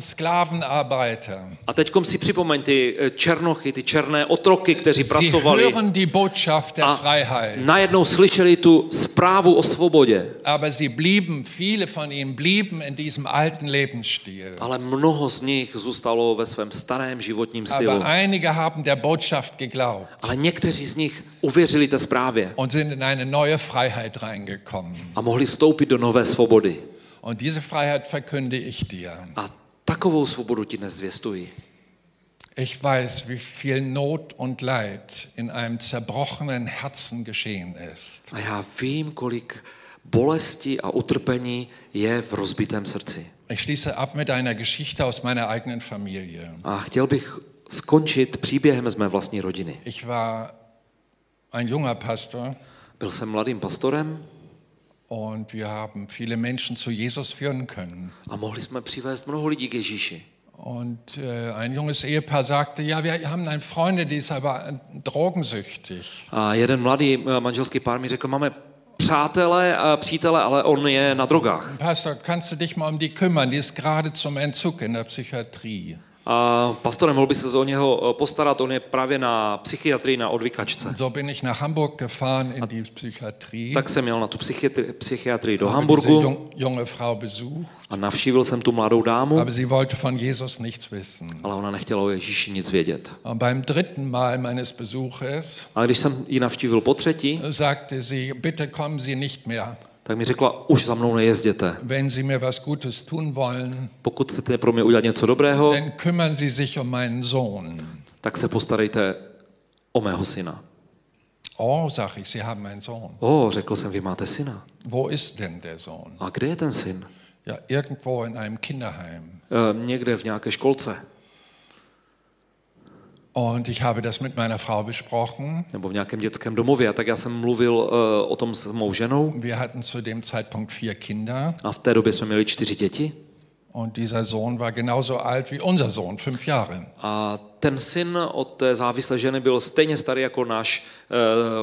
A: Sklavenarbeiter.
B: A teďkom si připomeň ty eh, černochy, ty černé otroky, kteří
A: Sie
B: pracovali
A: hören die Botschaft der
B: a
A: Freiheit.
B: najednou slyšeli tu zprávu o svobodě.
A: Aber sie blieben, viele von ihnen blieben in diesem alten Lebensstil.
B: Ale mnoho z nich zůstalo ve svém starém životním stylu.
A: Aber einige haben der Botschaft geglaubt
B: Ale někteří z nich uvěřili té zprávě
A: und sind in eine neue Freiheit reingekommen.
B: a mohli vstoupit do nové svobody.
A: Und diese Freiheit verkünde ich dir.
B: A takovou svobodu ti dnes zvěstuji.
A: Ich weiß, wie viel Not und Leid in einem zerbrochenen Herzen geschehen ist.
B: A já vím, kolik bolesti a utrpení je v rozbitém srdci.
A: Ich schließe ab mit einer Geschichte aus meiner eigenen Familie.
B: A chtěl bych skončit příběhem z mé vlastní rodiny.
A: Ich war ein junger Pastor
B: Byl jsem mladým pastorem
A: und wir haben viele Menschen zu Jesus führen können.
B: a mohli jsme přivést mnoho lidí k Ježíši.
A: Und äh, ein junges Ehepaar sagte, ja, wir haben einen Freund, der ist aber äh, drogensüchtig.
B: A jeden mladý eh, manželský pár mi řekl, máme přátelé a přítele, ale on je na drogách.
A: Pastor, kannst du dich mal um die kümmern? Die ist gerade zum Entzug in der Psychiatrie.
B: A pastore, mohl by se o něho eh, postarat, on je právě na psychiatrii, na odvykačce.
A: So bin ich nach Hamburg gefahren in die Psychiatrie.
B: Tak jsem jel na tu psychiatri- psychiatrii do
A: habe diese
B: Hamburgu
A: jung, junge Frau besucht,
B: a navštívil jsem tu mladou dámu.
A: aber sie wollte von Jesus nichts wissen.
B: ale ona nechtěla o Ježíši nic vědět.
A: Und beim dritten Mal meines Besuches
B: A když jsem ji navštívil po třetí,
A: äh, sagte sie, bitte kommen Sie nicht mehr.
B: tak mi řekla, už za mnou nejezděte.
A: Wenn Sie mir was Gutes tun wollen,
B: Pokud chcete pro mě udělat něco dobrého,
A: dann kümmern Sie sich um meinen Sohn.
B: tak se postarejte o mého syna.
A: Oh, sag ich, Sie haben einen Sohn.
B: O, řekl jsem, vy máte syna.
A: Wo ist denn der Sohn?
B: A kde je ten syn?
A: Ja, irgendwo in einem Kinderheim.
B: E, někde v nějaké školce,
A: Und ich habe das mit meiner Frau besprochen.
B: nebo v nějakém dětském domově. A tak já jsem mluvil e, o tom s mou ženou
A: Wir hatten zu dem Zeitpunkt vier Kinder
B: a v té době jsme měli čtyři děti.
A: und dieser Sohn war genauso alt wie unser Sohn, fünf Jahre.
B: A ten syn od té závislé ženy byl stejně starý jako náš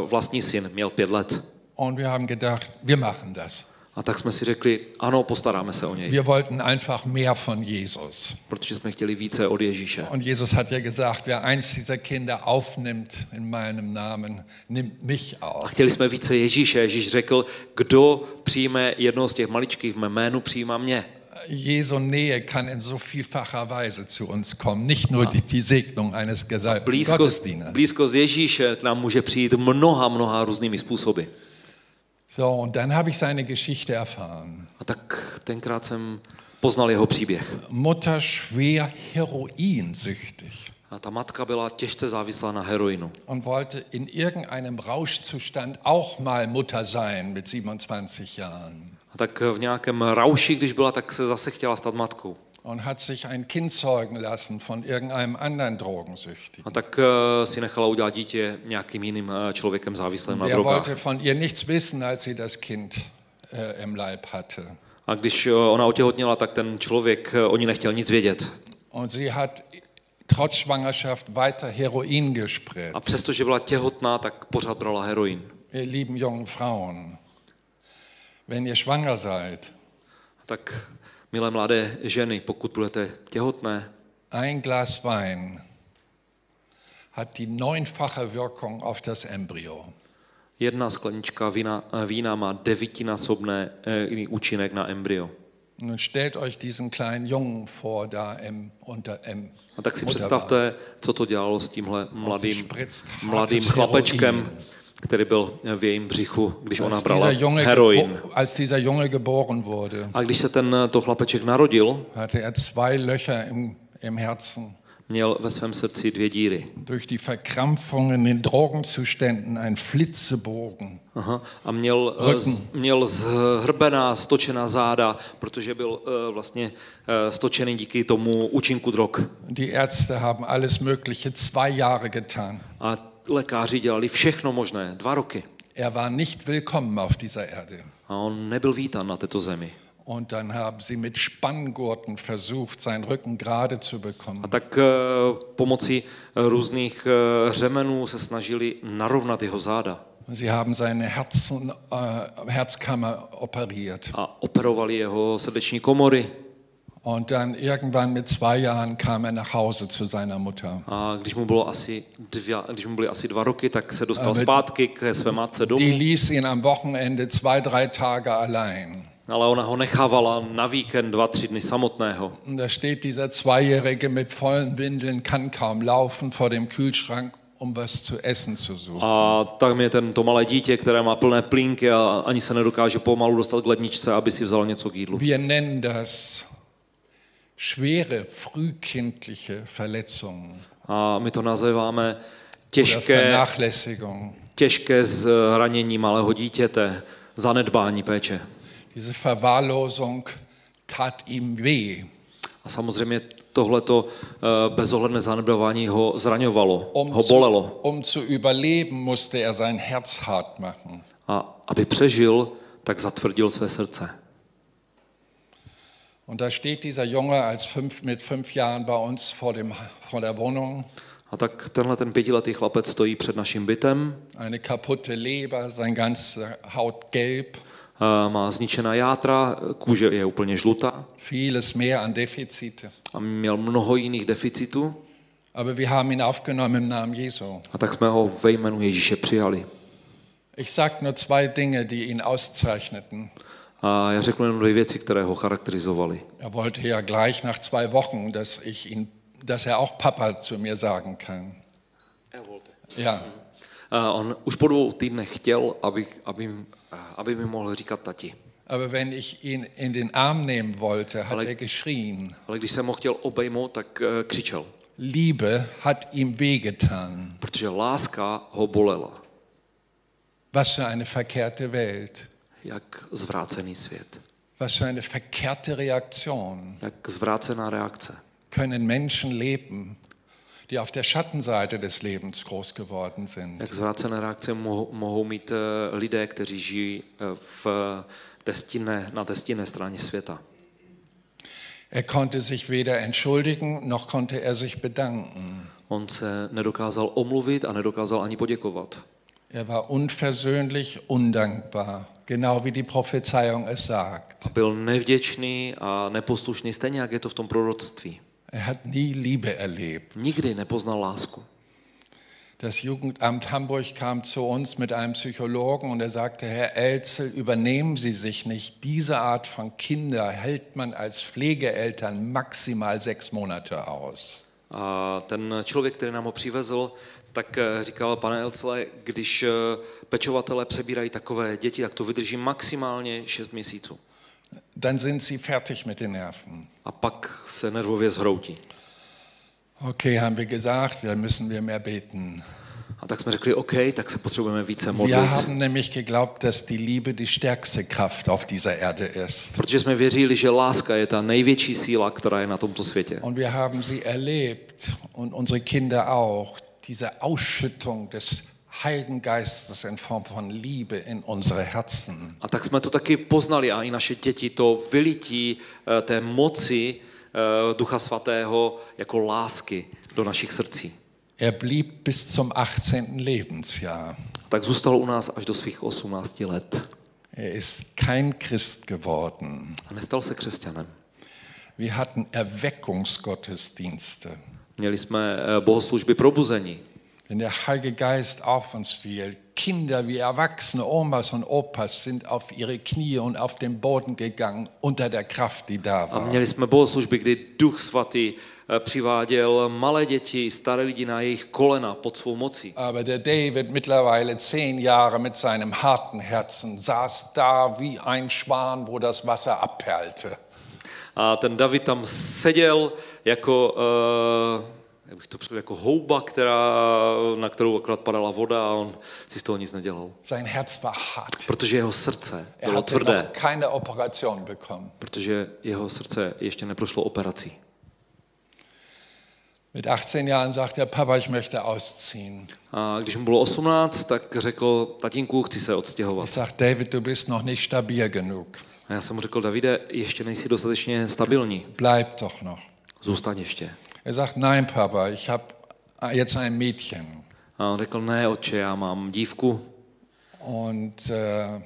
B: e, vlastní syn, měl pět let.
A: Und wir haben gedacht, wir machen das.
B: A tak jsme si řekli, ano, postaráme se o něj.
A: Wir wollten einfach mehr von Jesus.
B: protože jsme chtěli více od Ježíše.
A: Und Jesus hat ja gesagt, wer eins dieser Kinder aufnimmt in meinem Namen, nimmt mich
B: A
A: auf.
B: chtěli jsme více Ježíše. Ježíš řekl, kdo přijme jednoho z těch maličkých v mém jménu, přijímá mě.
A: Jesu Nähe kann in so vielfacher Weise zu uns kommen. Nicht nur die, die Segnung eines gesalbten
B: Blízkost,
A: Gottesdieners.
B: blízkost Ježíše k nám může přijít mnoha, mnoha různými způsoby.
A: So, und dann habe ich seine Geschichte erfahren.
B: A tak tenkrát jsem poznal jeho příběh.
A: Mutter schwer heroinsüchtig
B: A ta matka byla těžce závislá na heroinu.
A: und wollte in irgendeinem Rauschzustand auch mal Mutter sein mit 27 Jahren
B: A tak v nějakém rauši, když byla, tak se zase chtěla stát matkou.
A: und hat sich ein Kind zeugen lassen von irgendeinem anderen Drogensüchtigen.
B: A tak eh, si nechala udělat dítě nějakým jiným eh, člověkem závislým na
A: Der
B: drogách.
A: wollte von ihr nichts wissen, als sie das Kind äh, im Leib hatte.
B: A když eh, ona otěhotněla, tak ten člověk eh, o ní nechtěl nic vědět.
A: Und sie hat trotz Schwangerschaft weiter Heroin gespritzt.
B: A přestože byla těhotná, tak pořád brala heroin.
A: Ihr lieben jungen Frauen, wenn ihr schwanger seid,
B: Tak, milé mladé ženy, pokud budete těhotné,
A: ein Glas Wein hat die neunfache Wirkung auf das Embryo.
B: jedna sklenička vína, eh, vína má devitinásobný účinek na embryo.
A: Nun stellt euch diesen kleinen Jungen vor, da im, unter im
B: A tak si
A: Mutterleib.
B: představte, co to dělalo s tímhle mladým,
A: šprickt hartes
B: mladým chlapečkem, který byl eh, v jejím břichu, když ona
A: Als
B: brala
A: dieser, Junge
B: heroin.
A: gebo- als dieser Junge geboren wurde,
B: A když se ten eh, to chlapeček narodil,
A: hatte er zwei Löcher im, im Herzen.
B: měl ve svém srdci dvě díry.
A: Durch die Verkrampfungen in den Drogenzuständen ein Flitzebogen.
B: Aha. A měl, eh, z, měl zhrbená, stočená záda, protože byl eh, vlastně eh, stočený díky tomu účinku drog.
A: Die Ärzte haben alles Mögliche zwei Jahre getan.
B: A lékaři dělali všechno možné, dva roky.
A: Er war nicht willkommen auf dieser Erde.
B: A on nebyl vítán na této zemi.
A: Und dann haben sie mit Spanngurten versucht, seinen Rücken gerade zu
B: A
A: bekommen.
B: tak eh, pomocí eh, různých eh, řemenů se snažili narovnat jeho záda
A: Sie haben seine Herzen, äh, Herzkammer operiert.
B: a operovali jeho srdeční komory.
A: Und dann irgendwann mit zwei Jahren kam er nach Hause zu seiner Mutter.
B: A když mu, bylo asi dvě, když mu byly asi dva roky, tak se dostal
A: Ale-
B: zpátky k své matce domů,
A: Die ließ ihn am Wochenende zwei, drei Tage allein.
B: ale ona ho nechávala na víkend dva, tři dny samotného.
A: Und da steht dieser Zweijährige mit vollen Windeln, kann kaum laufen vor dem Kühlschrank, um was zu essen zu suchen.
B: A tam je ten, to malé dítě, které má plné plínky a ani se nedokáže pomalu dostat k ledničce, aby si vzal něco k jídlu.
A: Wir nennen das schwere frühkindliche Verletzungen
B: A my to nazýváme
A: oder
B: těžké,
A: Vernachlässigung.
B: těžké zranění malého dítěte, zanedbání péče.
A: Diese Verwahrlosung tat ihm weh.
B: A samozřejmě tohleto eh, bezohledné zanedbávání ho zraňovalo,
A: Um,
B: ho
A: zu,
B: Oh, bolelo.
A: um zu überleben, musste er sein Herz hart machen.
B: A aby přežil, tak zatvrdil své srdce.
A: Und da steht dieser Junge als fünf, mit fünf Jahren bei uns vor, dem, vor der Wohnung.
B: A tak tenhle ten pětiletý chlapec stojí před naším bytem,
A: Eine kaputte Leber, sein ganze Haut gelb,
B: eh, má zničená játra, kůže je úplně žlutá
A: vieles mehr an Defizite.
B: a měl mnoho jiných deficitů.
A: Aber wir haben ihn aufgenommen im Namen Jesu.
B: A tak jsme ho ve jménu Ježíše přijali.
A: Ich sage nur zwei Dinge, die ihn auszeichneten.
B: A já řeknu jenom dvě věci, které ho charakterizovaly.
A: Er wollte ja gleich nach zwei Wochen, dass ich ihn, dass er auch Papa zu mir sagen kann. Ja.
B: A on už po dvou týdnech chtěl, aby, aby, aby mi mohl říkat tati.
A: Aber wenn ich ihn in den Arm nehmen wollte, hat
B: Aber-
A: er geschrien.
B: Ale když jsem ho chtěl obejmout, tak eh, křičel,
A: Liebe hat ihm wehgetan.
B: protože láska ho bolela.
A: Was für eine verkehrte Welt.
B: Jak zvrácený svět,
A: Was für eine verkehrte Reaktion.
B: jak zvrácená reakce.
A: Können Menschen leben, die auf der Schattenseite des Lebens groß geworden sind.
B: Jak zvrácené reakce mohou, mohou mít eh, lidé, kteří žijí eh, v testinné, na testinné straně světa.
A: Er konnte sich weder entschuldigen, noch konnte er sich bedanken.
B: On se nedokázal omluvit a nedokázal ani poděkovat.
A: Er war unversöhnlich, undankbar, genau wie die Prophezeiung es sagt.
B: Byl nevděčný a neposlušný, stejně jak je to v tom proroctví.
A: Er hat nie Liebe erlebt.
B: Nikdy nepoznal lásku.
A: Das Jugendamt Hamburg kam zu uns mit einem Psychologen und er sagte, Herr Elzel, übernehmen Sie sich nicht. Diese Art von Kinder hält man als Pflegeeltern maximal sechs Monate aus.
B: A ten člověk, který nám ho přivezl, tak eh, říkal, pane Elcle, když eh, pečovatelé přebírají takové děti, tak to vydrží maximálně 6 měsíců.
A: Dann sind Sie fertig mit den Nerven.
B: A pak se nervově zhroutí.
A: Okay, haben wir gesagt, dann müssen wir mehr beten.
B: A tak jsme řekli, OK, tak se potřebujeme více
A: Wir
B: modlit.
A: haben nämlich geglaubt, dass die Liebe die stärkste Kraft auf dieser Erde ist.
B: Protože jsme věřili, že láska je ta největší síla, která je na tomto světě.
A: Und wir haben sie erlebt und unsere Kinder auch, diese Ausschüttung des Heiligen Geistes in Form von Liebe in unsere Herzen.
B: A tak jsme to taky poznali a i naše děti to vylití eh, té moci eh, Ducha Svatého jako lásky do našich srdcí.
A: Er blieb bis zum 18. Lebensjahr.
B: Tak zůstal u nás až do svých 18 let
A: Er ist kein Christ geworden.
B: a nestal se křesťanem.
A: Wir hatten Erweckungsgottesdienste.
B: Měli jsme eh, bohoslužby probuzení.
A: Wenn der Heilige Geist auf uns fiel, Kinder wie Erwachsene, Omas und Opas sind auf ihre Knie und auf den Boden gegangen, unter der Kraft, die da
B: A
A: war.
B: měli jsme bohoslužby, kdy Duch Svatý eh, přiváděl malé děti, staré lidi na jejich kolena pod svou mocí.
A: Aber der David, mittlerweile zehn Jahre mit seinem harten Herzen, saß da wie ein Schwan, wo das Wasser abperlte.
B: A ten David tam seděl jako, eh, jak bych to přijel, jako houba, která, na kterou akorát padala voda a on si z toho nic nedělal.
A: Sein Herz war hart.
B: Protože jeho srdce
A: Er
B: bylo
A: hatte
B: tvrdé,
A: noch keine Operation bekommen.
B: protože jeho srdce ještě neprošlo operací.
A: Mit 18 Jahren sagt er, Papa, ich möchte ausziehen.
B: A když mu bylo 18, tak řekl, tatínku, chci se odstěhovat.
A: Ich sage, David, du bist noch nicht stabil genug.
B: A já jsem mu řekl, Davide, ještě nejsi dostatečně stabilní,
A: Bleib doch noch.
B: zůstaň ještě.
A: Er sagt, nein, Papa, ich habe jetzt ein Mädchen.
B: A on řekl, ne, otče, já mám dívku
A: Und äh,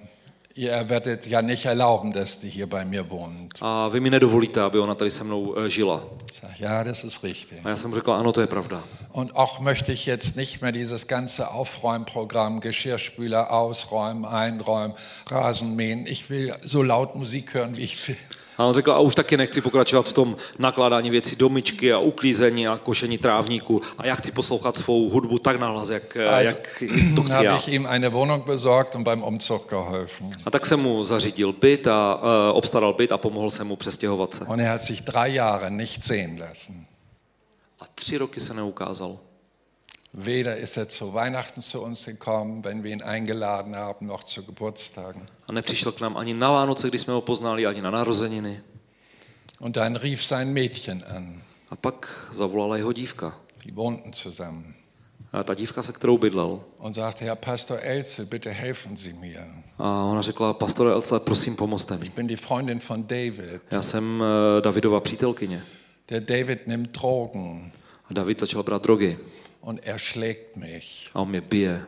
A: ihr werdet ja nicht erlauben, dass die hier bei mir wohnt.
B: a vy mi nedovolíte, aby ona tady se mnou eh, žila.
A: Ich sage, ja, das ist richtig.
B: A já jsem mu řekl, ano, to je pravda.
A: Und auch möchte ich jetzt nicht mehr dieses ganze Aufräumprogramm, Geschirrspüler ausräumen, einräumen, Rasen mähen. Ich will so laut Musik hören, wie ich will.
B: A on řekl, a už taky nechci pokračovat v tom nakládání věcí do myčky a uklízení a košení trávníků. A já chci poslouchat svou hudbu tak nahlas, jak, eh,
A: Also,
B: jak to chci
A: habe
B: já.
A: ich ihm eine Wohnung besorgt und beim Umzug geholfen.
B: A tak jsem mu zařídil byt a eh, obstaral byt a pomohl jsem mu přestěhovat se.
A: Und er hat sich drei Jahre nicht sehen lassen.
B: A tři roky se neukázal.
A: Weder ist er zu Weihnachten zu uns gekommen, wenn wir ihn eingeladen haben, noch zu Geburtstagen.
B: A nepřišel k nám ani na Vánoce, když jsme ho poznali, ani na narozeniny.
A: Und dann rief sein Mädchen an.
B: A pak zavolala jeho dívka.
A: Die wohnten zusammen
B: A ta dívka, se kterou bydlel.
A: und sagte, Herr Pastor Elze, bitte helfen Sie mir.
B: A ona řekla, pastore Elce, prosím, pomozte mi.
A: Ich bin die Freundin von David.
B: Já jsem eh, Davidova přítelkyně.
A: Der David nimmt Drogen
B: A David začal brát drogy.
A: und er schlägt mich.
B: A on mě bije.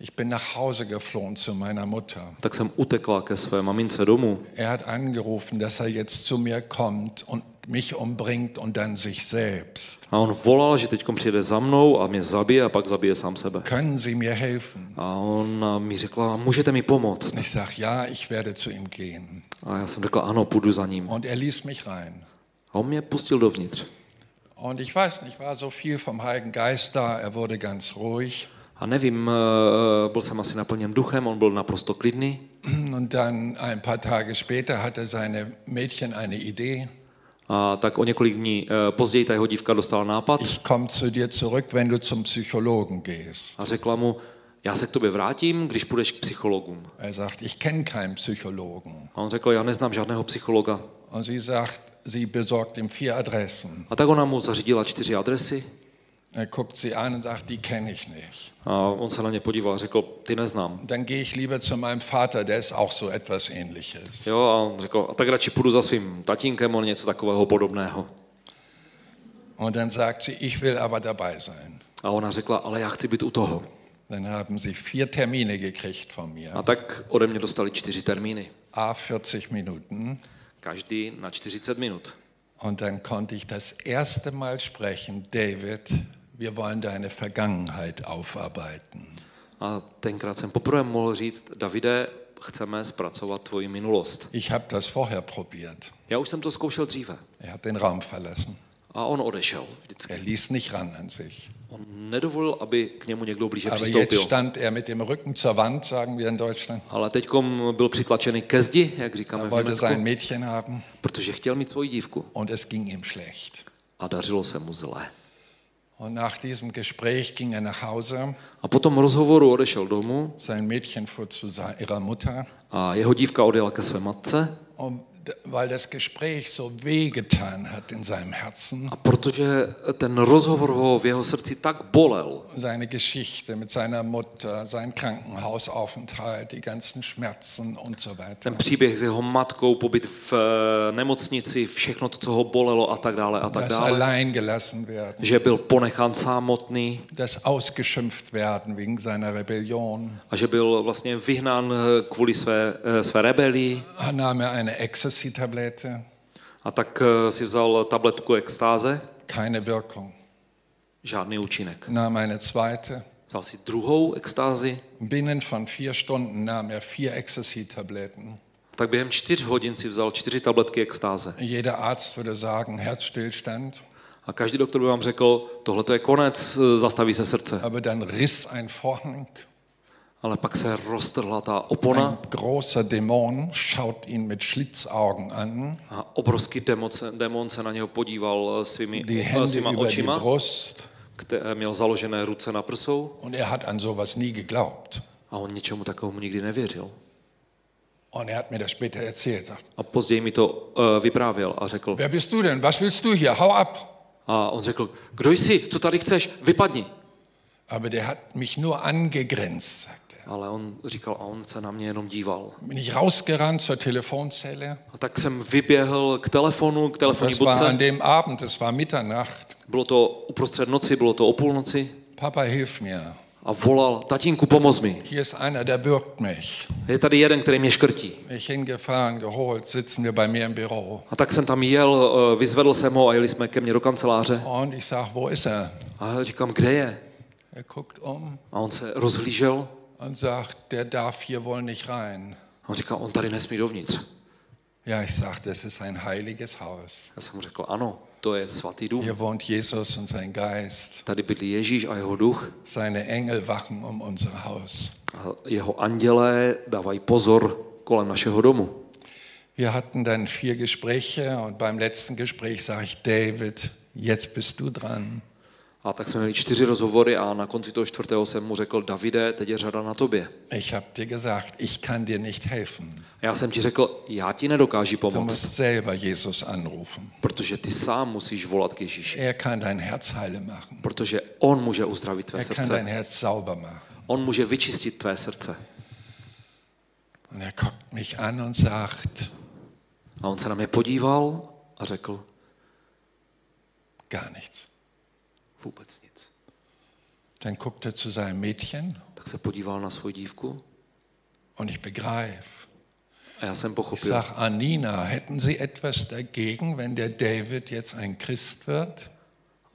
A: Ich bin nach Hause geflohen zu meiner Mutter.
B: Tak jsem utekla ke své mamince domů.
A: Er hat angerufen, dass er jetzt zu mir kommt und mich umbringt und dann sich selbst.
B: A on volal, že teď přijede za mnou a mě zabije a pak zabije sám sebe.
A: Können Sie mir helfen?
B: A ona mi řekla, můžete mi pomoct?
A: Und ich sage, ja, ich werde zu ihm gehen.
B: A já jsem řekla, ano, půjdu za ním.
A: Und er ließ mich rein.
B: A on mě pustil dovnitř.
A: Und ich weiß nicht, war so viel vom Heiligen Geist da, er wurde ganz ruhig.
B: A nevím, eh, byl jsem asi naplněn duchem, on byl naprosto klidný.
A: Und dann ein paar Tage später hatte seine Mädchen eine Idee.
B: A tak o několik dní eh, později ta jeho dívka dostala nápad
A: Ich komme zu dir zurück, wenn du zum Psychologen gehst.
B: a řekla mu, já se k tobě vrátím, když půjdeš k psychologům.
A: Er sagt, ich kenne keinen Psychologen.
B: A on řekl, já neznám žádného psychologa.
A: Und sie sagt, sie besorgt ihm vier Adressen.
B: A tak ona mu zařídila čtyři adresy
A: Er guckt sie an und sagt, die kenne ich nicht.
B: a on se na ně podíval a řekl, ty neznám.
A: Dann gehe ich lieber zu meinem Vater, der ist auch so etwas ähnliches.
B: Jo, a on řekl, a tak radši půjdu za svým tatínkem, on něco takového podobného.
A: Und dann sagt sie, ich will aber dabei sein.
B: A ona řekla, ale já chci být u toho.
A: Dann haben sie vier Termine gekriegt von
B: A
A: mir.
B: tak ode mě dostali čtyři termíny.
A: A 40 Minuten.
B: Každý na 40 minut.
A: Und dann konnte ich das erste Mal sprechen, David, wir wollen deine Vergangenheit aufarbeiten.
B: A tenkrát jsem poprvé mohl říct, Davide, chceme zpracovat tvoji minulost.
A: Ich habe das vorher probiert.
B: Já už jsem to zkoušel dříve.
A: Er hat den Raum verlassen.
B: A on odešel vždycky.
A: Er ließ nicht ran an sich.
B: On nedovolil, aby k němu někdo blíže
A: Aber jetzt
B: přistoupil.
A: stand er mit dem Rücken zur Wand, sagen wir in Deutschland,
B: Ale teď byl přitlačený ke zdi, jak říkáme v
A: wollte
B: Německu,
A: sein Mädchen haben
B: protože chtěl mít svoji dívku.
A: und es ging ihm schlecht.
B: A dařilo se mu zle.
A: Und nach diesem Gespräch ging er nach Hause.
B: A po tom rozhovoru odešel domů
A: Sein Mädchen fuhr zu se- ihrer Mutter.
B: a jeho dívka odjela ke své matce
A: Und d- weil das Gespräch so wehgetan hat in seinem Herzen,
B: A protože ten rozhovor ho v jeho srdci tak bolel,
A: seine Geschichte mit seiner Mutter, sein Krankenhausaufenthalt, die ganzen Schmerzen und so weiter.
B: ten příběh s jeho matkou, pobyt v eh, nemocnici, všechno to, co ho bolelo a tak dále a tak
A: Das
B: dále,
A: Alleingelassen werden,
B: že byl ponechán samotný
A: das Ausgeschimpft werden wegen seiner Rebellion.
B: a že byl vlastně vyhnán eh, kvůli své, eh, své rebelii
A: Er nahm er eine Ecstasy-Tablette,
B: a tak eh, si vzal tabletku extáze,
A: keine Wirkung.
B: žádný účinek.
A: Nahm eine zweite.
B: Vzal si druhou extázi,
A: Binnen von vier Stunden nahm er vier Ecstasy-Tabletten.
B: tak během čtyř hodin si vzal čtyři tabletky extáze.
A: Jeder Arzt würde sagen, Herzstillstand.
B: A každý doktor by vám řekl, tohle je konec, eh, zastaví se srdce.
A: Aber dann riss ein Vorhang.
B: Ale pak se roztrhla ta opona
A: Ein großer Dämon schaut ihn mit Schlitzaugen an,
B: a obrovský demon se, demon se na něho podíval eh, svými,
A: die
B: eh,
A: Hände
B: svýma
A: über die
B: očima,
A: Brust.
B: kde měl založené ruce na prsou
A: Und er hat an sowas nie geglaubt.
B: a on ničemu takovému nikdy nevěřil.
A: Und er hat mir das später erzählt. Sagt,
B: A později mi to eh, vyprávěl a řekl,
A: Wer bist du denn? Was willst du hier? Hau ab!
B: a on řekl, kdo jsi, co tady chceš, vypadni.
A: Aber der hat mich nur angegrinst, sagt er.
B: Ale on říkal, a on se na mě jenom díval.
A: Bin ich rausgerannt zur Telefonzelle.
B: A tak jsem vyběhl k telefonu, k telefonní
A: Das war an
B: budce.
A: dem Abend, es war Mitternacht.
B: Bylo to uprostřed noci, bylo to o půlnoci.
A: Papa, hilf mir.
B: A volal, tatínku, pomoz mi.
A: Hier ist einer, der wirkt mich.
B: Je tady jeden, který mě škrtí.
A: Ich hingefahren, geholt, sitzen wir bei mir im Büro.
B: A tak jsem tam jel, eh, vyzvedl jsem ho a jeli jsme ke mně do kanceláře.
A: Und ich sage, wo ist er?
B: A říkám, kde je?
A: Er guckt um
B: A on se rozhlížel.
A: und sagt, der darf hier wohl nicht rein.
B: A on říkal, on tady nesmí dovnitř.
A: Ja, ich sage, das ist ein heiliges Haus.
B: Já jsem mu řekl, ano, to je svatý dům.
A: Hier wohnt Jesus und sein Geist.
B: Tady bydlí Ježíš a jeho duch.
A: Seine Engel wachen um unser Haus.
B: A jeho andělé dávají pozor kolem našeho domu.
A: Wir hatten dann vier Gespräche und beim letzten Gespräch sage ich, David, jetzt bist du dran.
B: A tak jsme měli čtyři rozhovory a na konci toho čtvrtého jsem mu řekl, Davide, teď je řada na tobě.
A: Ich habe dir gesagt, ich kann dir nicht helfen.
B: A já jsem ti řekl, já ti nedokážu
A: Du
B: pomoct,
A: musst selber Jesus anrufen.
B: protože ty sám musíš volat k Ježíši.
A: Er kann dein Herz heile machen.
B: Protože on může uzdravit tvé
A: Er kann dein
B: srdce.
A: Herz sauber machen.
B: On může vyčistit tvé srdce.
A: Und er guckt mich an und sagt,
B: A on se na mě podíval a řekl,
A: gar nichts.
B: vůbec nic.
A: Dann guckt er zu seinem Mädchen
B: Tak se podíval na svoji dívku
A: und ich begreife.
B: a já jsem
A: Ich
B: pochopil.
A: sage, Anina, hätten Sie etwas dagegen, wenn der David jetzt ein Christ wird?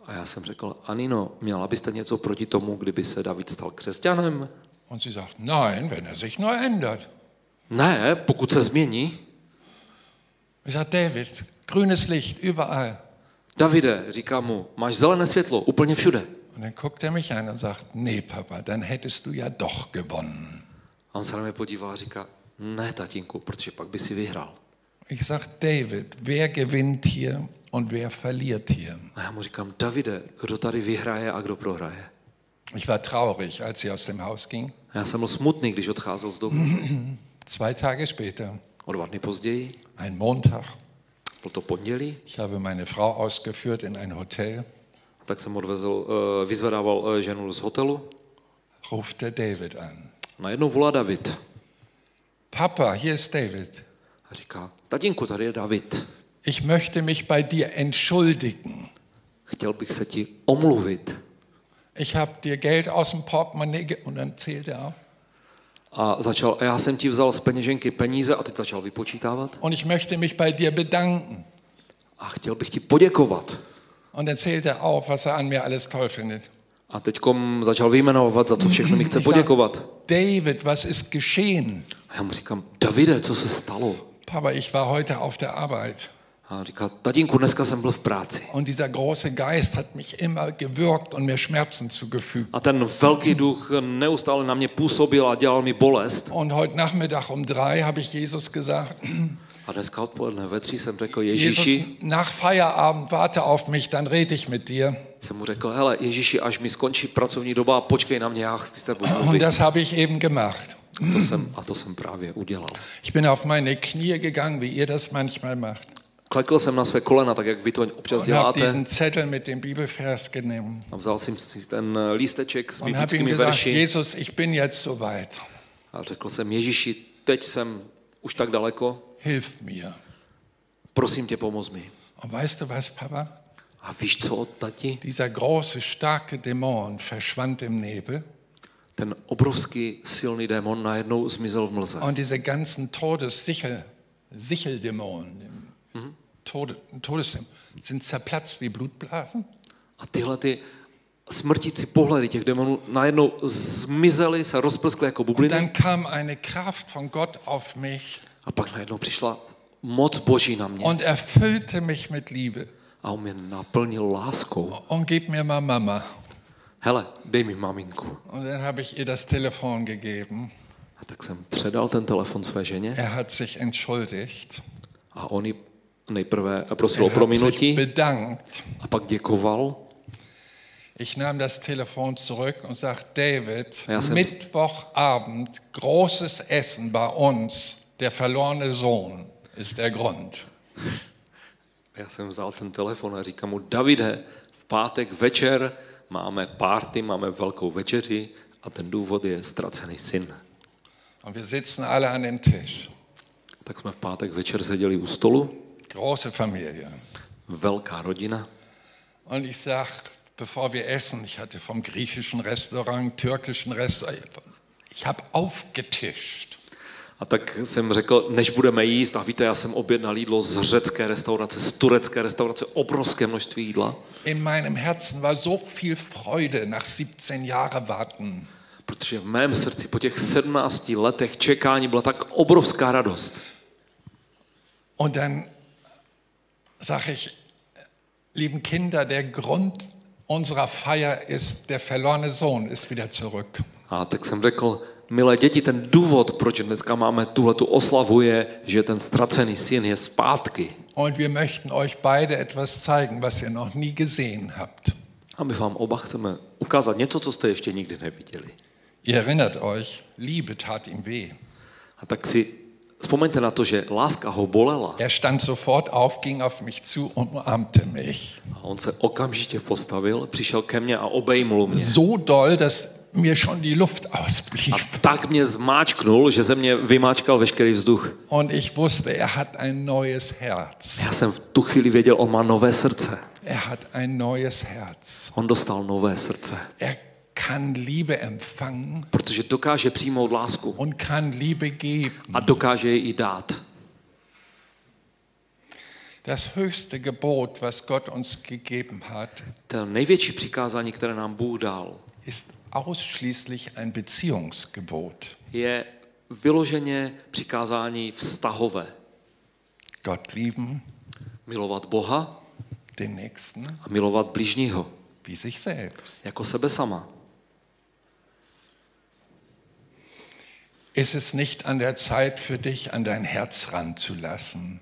B: A já jsem řekl, Anino, měla byste něco proti tomu, kdyby se David stal křesťanem?
A: Und sie sagt, nein, wenn er sich nur ändert.
B: Ne, pokud se změní.
A: Ich sage, David, grünes Licht überall.
B: Davide, říká mu, máš zelené světlo úplně všude.
A: Und dann guckt er mich an und sagt, nee, Papa, dann hättest du ja doch gewonnen.
B: A on se na mě podíval a říká, ne, tatínku, protože pak by si vyhrál.
A: Ich sage, David, wer gewinnt hier und wer verliert hier?
B: A já mu říkám, Davide, kdo tady vyhraje a kdo prohraje?
A: Ich war traurig, als sie aus dem Haus ging.
B: A já jsem byl smutný, když odcházel z domu.
A: Zwei Tage später,
B: O dva dny později,
A: ein Montag,
B: byl to pondělí,
A: ich habe meine Frau ausgeführt in ein Hotel,
B: tak jsem odvezl, eh, vyzvedával eh, ženu z hotelu.
A: ruft der David an.
B: Najednou volá David
A: Papa, hier ist David.
B: a říká, tatínku, tady je David.
A: Ich möchte mich bei dir entschuldigen.
B: Chtěl bych se ti omluvit.
A: Ich habe dir Geld aus dem Portemonnaie ge und dann zählt er auf.
B: A začal, a já jsem ti vzal z peněženky peníze a ty začal vypočítávat.
A: Und ich möchte mich bei dir bedanken.
B: A chtěl bych ti poděkovat.
A: Und dann zählt er auf, was er an mir alles toll findet.
B: A teďkom začal vyjmenovat, za co všechno mi chce
A: Ich sag,
B: poděkovat.
A: David, was ist geschehen?
B: A já mu říkám, Davide, co se stalo?
A: Papa, ich war heute auf der Arbeit.
B: A on říká, tatínku, dneska jsem byl v práci.
A: Und dieser große Geist hat mich immer gewürgt und mir Schmerzen zugefügt.
B: A ten velký duch neustále na mě působil a dělal mi bolest.
A: Und heute Nachmittag um drei habe ich Jesus gesagt,
B: A dneska odpoledne ve tří jsem řekl Ježíši,
A: Jesus, nach Feierabend warte auf mich, dann rede ich mit dir.
B: jsem mu řekl, hele Ježíši, až mi skončí pracovní doba, počkej na mě, já chci s tebou
A: Und
B: mluvit.
A: das habe ich eben gemacht.
B: A to jsem, a to jsem právě udělal.
A: Ich bin auf meine Knie gegangen, wie ihr das manchmal macht,
B: Klekl jsem na své kolena, tak jak vy to občas
A: und habe
B: děláte.
A: diesen Zettel mit dem Bibelvers genommen
B: A vzal jsem si ten eh, lísteček s
A: und habe ihm
B: biblickými
A: gesagt,
B: verši
A: Jesus, ich bin jetzt so weit,
B: a řekl jsem, Ježíši, teď jsem už tak daleko,
A: hilf mir.
B: prosím tě, pomoz mi.
A: Und weißt du was, Papa?
B: A víš co, tati?
A: Dieser große, starke Dämon verschwand im Nebel
B: Ten obrovský silný démon najednou zmizel v mlze.
A: und diese ganzen Todessichel, Sicheldämonen, Tode, Todesdämonen, sind zerplatzt wie Blutblasen.
B: A tyhle ty smrtící pohledy těch démonů najednou zmizely, se rozprskly jako
A: Und
B: bubliny
A: dann kam eine Kraft von Gott auf mich
B: a pak najednou přišla moc boží na mě
A: und erfüllte mich mit Liebe.
B: a on mě naplnil láskou.
A: Und gib mir mal Mama.
B: Hele, dej mi maminku.
A: Und dann habe ich ihr das Telefon gegeben.
B: A tak jsem předal ten telefon své ženě
A: Er hat sich entschuldigt.
B: a on ji nejprve prosil o
A: Er hat sich
B: prominutí
A: bedankt.
B: a pak děkoval.
A: Ich nahm das Telefon zurück und sagte, David,
B: Ja, Sam.
A: Mittwochabend, großes Essen bei uns. Der verlorene Sohn ist der Grund.
B: Já jsem vzal ten telefon a říkám mu, Davide, v pátek večer máme párty, máme velkou večeři a ten důvod je ztracený syn.
A: Und wir sitzen alle an dem Tisch.
B: Tak jsme v pátek večer seděli u stolu
A: Große Familie.
B: velká rodina.
A: Und ich sage, bevor wir essen, ich hatte vom griechischen Restaurant, türkischen Restaurant, ich habe aufgetischt.
B: A tak jsem řekl, než budeme jíst, a víte, já jsem objednal jídlo z řecké restaurace, z turecké restaurace, obrovské množství jídla,
A: In meinem Herzen war so viel Freude nach 17 Jahren warten.
B: protože v mém srdci po těch 17 letech čekání byla tak obrovská radost.
A: Und dann sage ich, lieben Kinder, der Grund unserer Feier ist, der verlorene Sohn ist wieder zurück.
B: A tak jsem řekl, milé děti, ten důvod, proč dneska máme tuhle tu oslavu, je, že ten ztracený syn je zpátky.
A: Und wir möchten euch beide etwas zeigen, was ihr noch nie gesehen habt.
B: A my vám oba chceme ukázat něco, co jste ještě nikdy neviděli.
A: Ihr erinnert euch, Liebe tat ihm weh.
B: A tak si vzpomeňte na to, že láska ho bolela.
A: Er stand sofort auf, ging auf mich zu und umarmte mich.
B: A on se okamžitě postavil, přišel ke mně a obejmul mě.
A: So doll, dass mir schon die Luft ausblieb.
B: A tak mě zmáčknul, že ze mě vymáčkal veškerý vzduch.
A: Und ich wusste, er hat ein neues Herz.
B: Já jsem v tu chvíli věděl, on má nové srdce.
A: Er hat ein neues Herz.
B: On dostal nové srdce.
A: Er kann Liebe empfangen
B: Protože dokáže přijmout lásku
A: und kann Liebe geben.
B: a dokáže ji i dát.
A: Das höchste Gebot, was Gott uns gegeben hat,
B: To největší přikázání, které nám Bůh dal,
A: ist ausschließlich ein Beziehungsgebot.
B: je vyloženě přikázání vztahové.
A: Gott lieben,
B: Milovat Boha
A: den Nächsten
B: a milovat blížního,
A: wie sich selbst.
B: jako sebe sama.
A: Ist es nicht an der Zeit für dich, an dein Herz ranzulassen?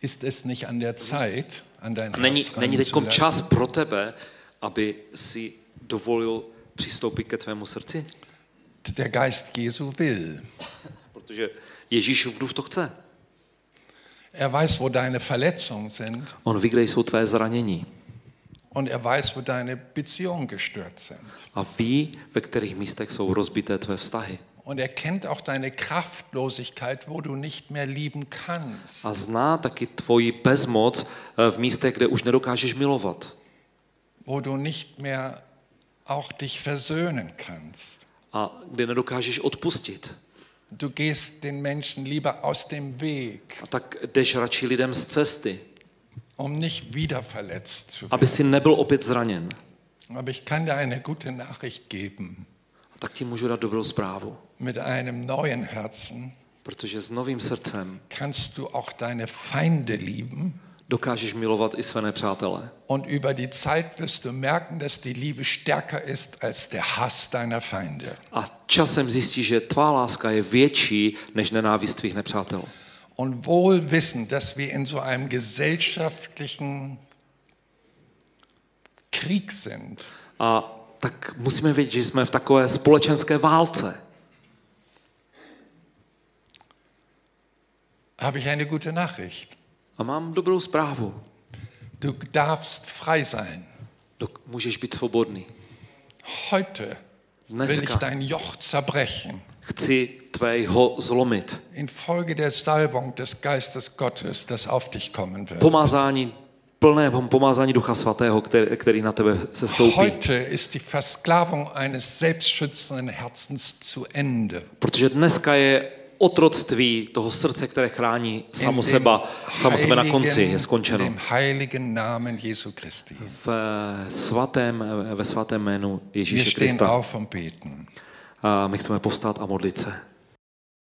A: Ist es nicht an der Zeit, an dein
B: Není,
A: Herz
B: není teď
A: ranzulassen?
B: čas pro tebe, aby si dovolil přistoupit ke tvému srdci?
A: Der Geist Jesu will.
B: Protože Ježíšův duch to chce.
A: Er weiß, wo deine Verletzungen sind
B: On ví, kde jsou tvé zranění.
A: und er weiß, wo deine Beziehungen gestört sind.
B: A ví, ve kterých místech jsou rozbité tvé vztahy.
A: Und er kennt auch deine Kraftlosigkeit, wo du nicht mehr lieben kannst.
B: A zná taky tvoji bezmoc eh, v místech, kde už nedokážeš milovat.
A: wo du nicht mehr auch dich versöhnen kannst.
B: A kde nedokážeš odpustit.
A: Du gehst den Menschen lieber aus dem Weg,
B: A tak jdeš radši lidem z cesty,
A: um nicht wieder verletzt zu werden.
B: aby si nebyl opět zraněn.
A: Aber ich kann dir eine gute Nachricht geben.
B: A tak ti můžu dát dobrou zprávu.
A: Mit einem neuen Herzen
B: Protože s novým srdcem
A: kannst du auch deine Feinde lieben.
B: dokážeš milovat i své nepřátele.
A: Und über die Zeit wirst du merken, dass die Liebe stärker ist als der Hass deiner Feinde.
B: A časem zjistíš, že tvá láska je větší než nenávist tvých nepřátel.
A: Und wohl wissen, dass wir in so einem gesellschaftlichen Krieg sind.
B: A tak musíme vědět, že jsme v takové společenské válce.
A: Habe ich eine gute Nachricht.
B: A mám dobrou zprávu.
A: Du darfst frei sein.
B: Dok- Můžeš být svobodný.
A: Heute will ich
B: Dneska.
A: dein Joch zerbrechen.
B: Chci tvého zlomit.
A: Infolge der Salbung des Geistes Gottes, das auf dich kommen wird.
B: Pomazání, plné pomazání Ducha Svatého, který, který na tebe se stoupí.
A: Heute ist die Versklavung eines selbstschützenden Herzens zu Ende.
B: Protože dneska je otroctví toho srdce, které chrání samo
A: In dem
B: seba, samo sebe na konci, je
A: heiligen, in
B: skončeno.
A: dem heiligen Namen Jesu Christi.
B: V eh, svatém, eh, ve svatém jménu
A: Wir
B: Ježíše
A: stehen
B: Krista.
A: auf und beten.
B: A my chceme povstát a modlit se.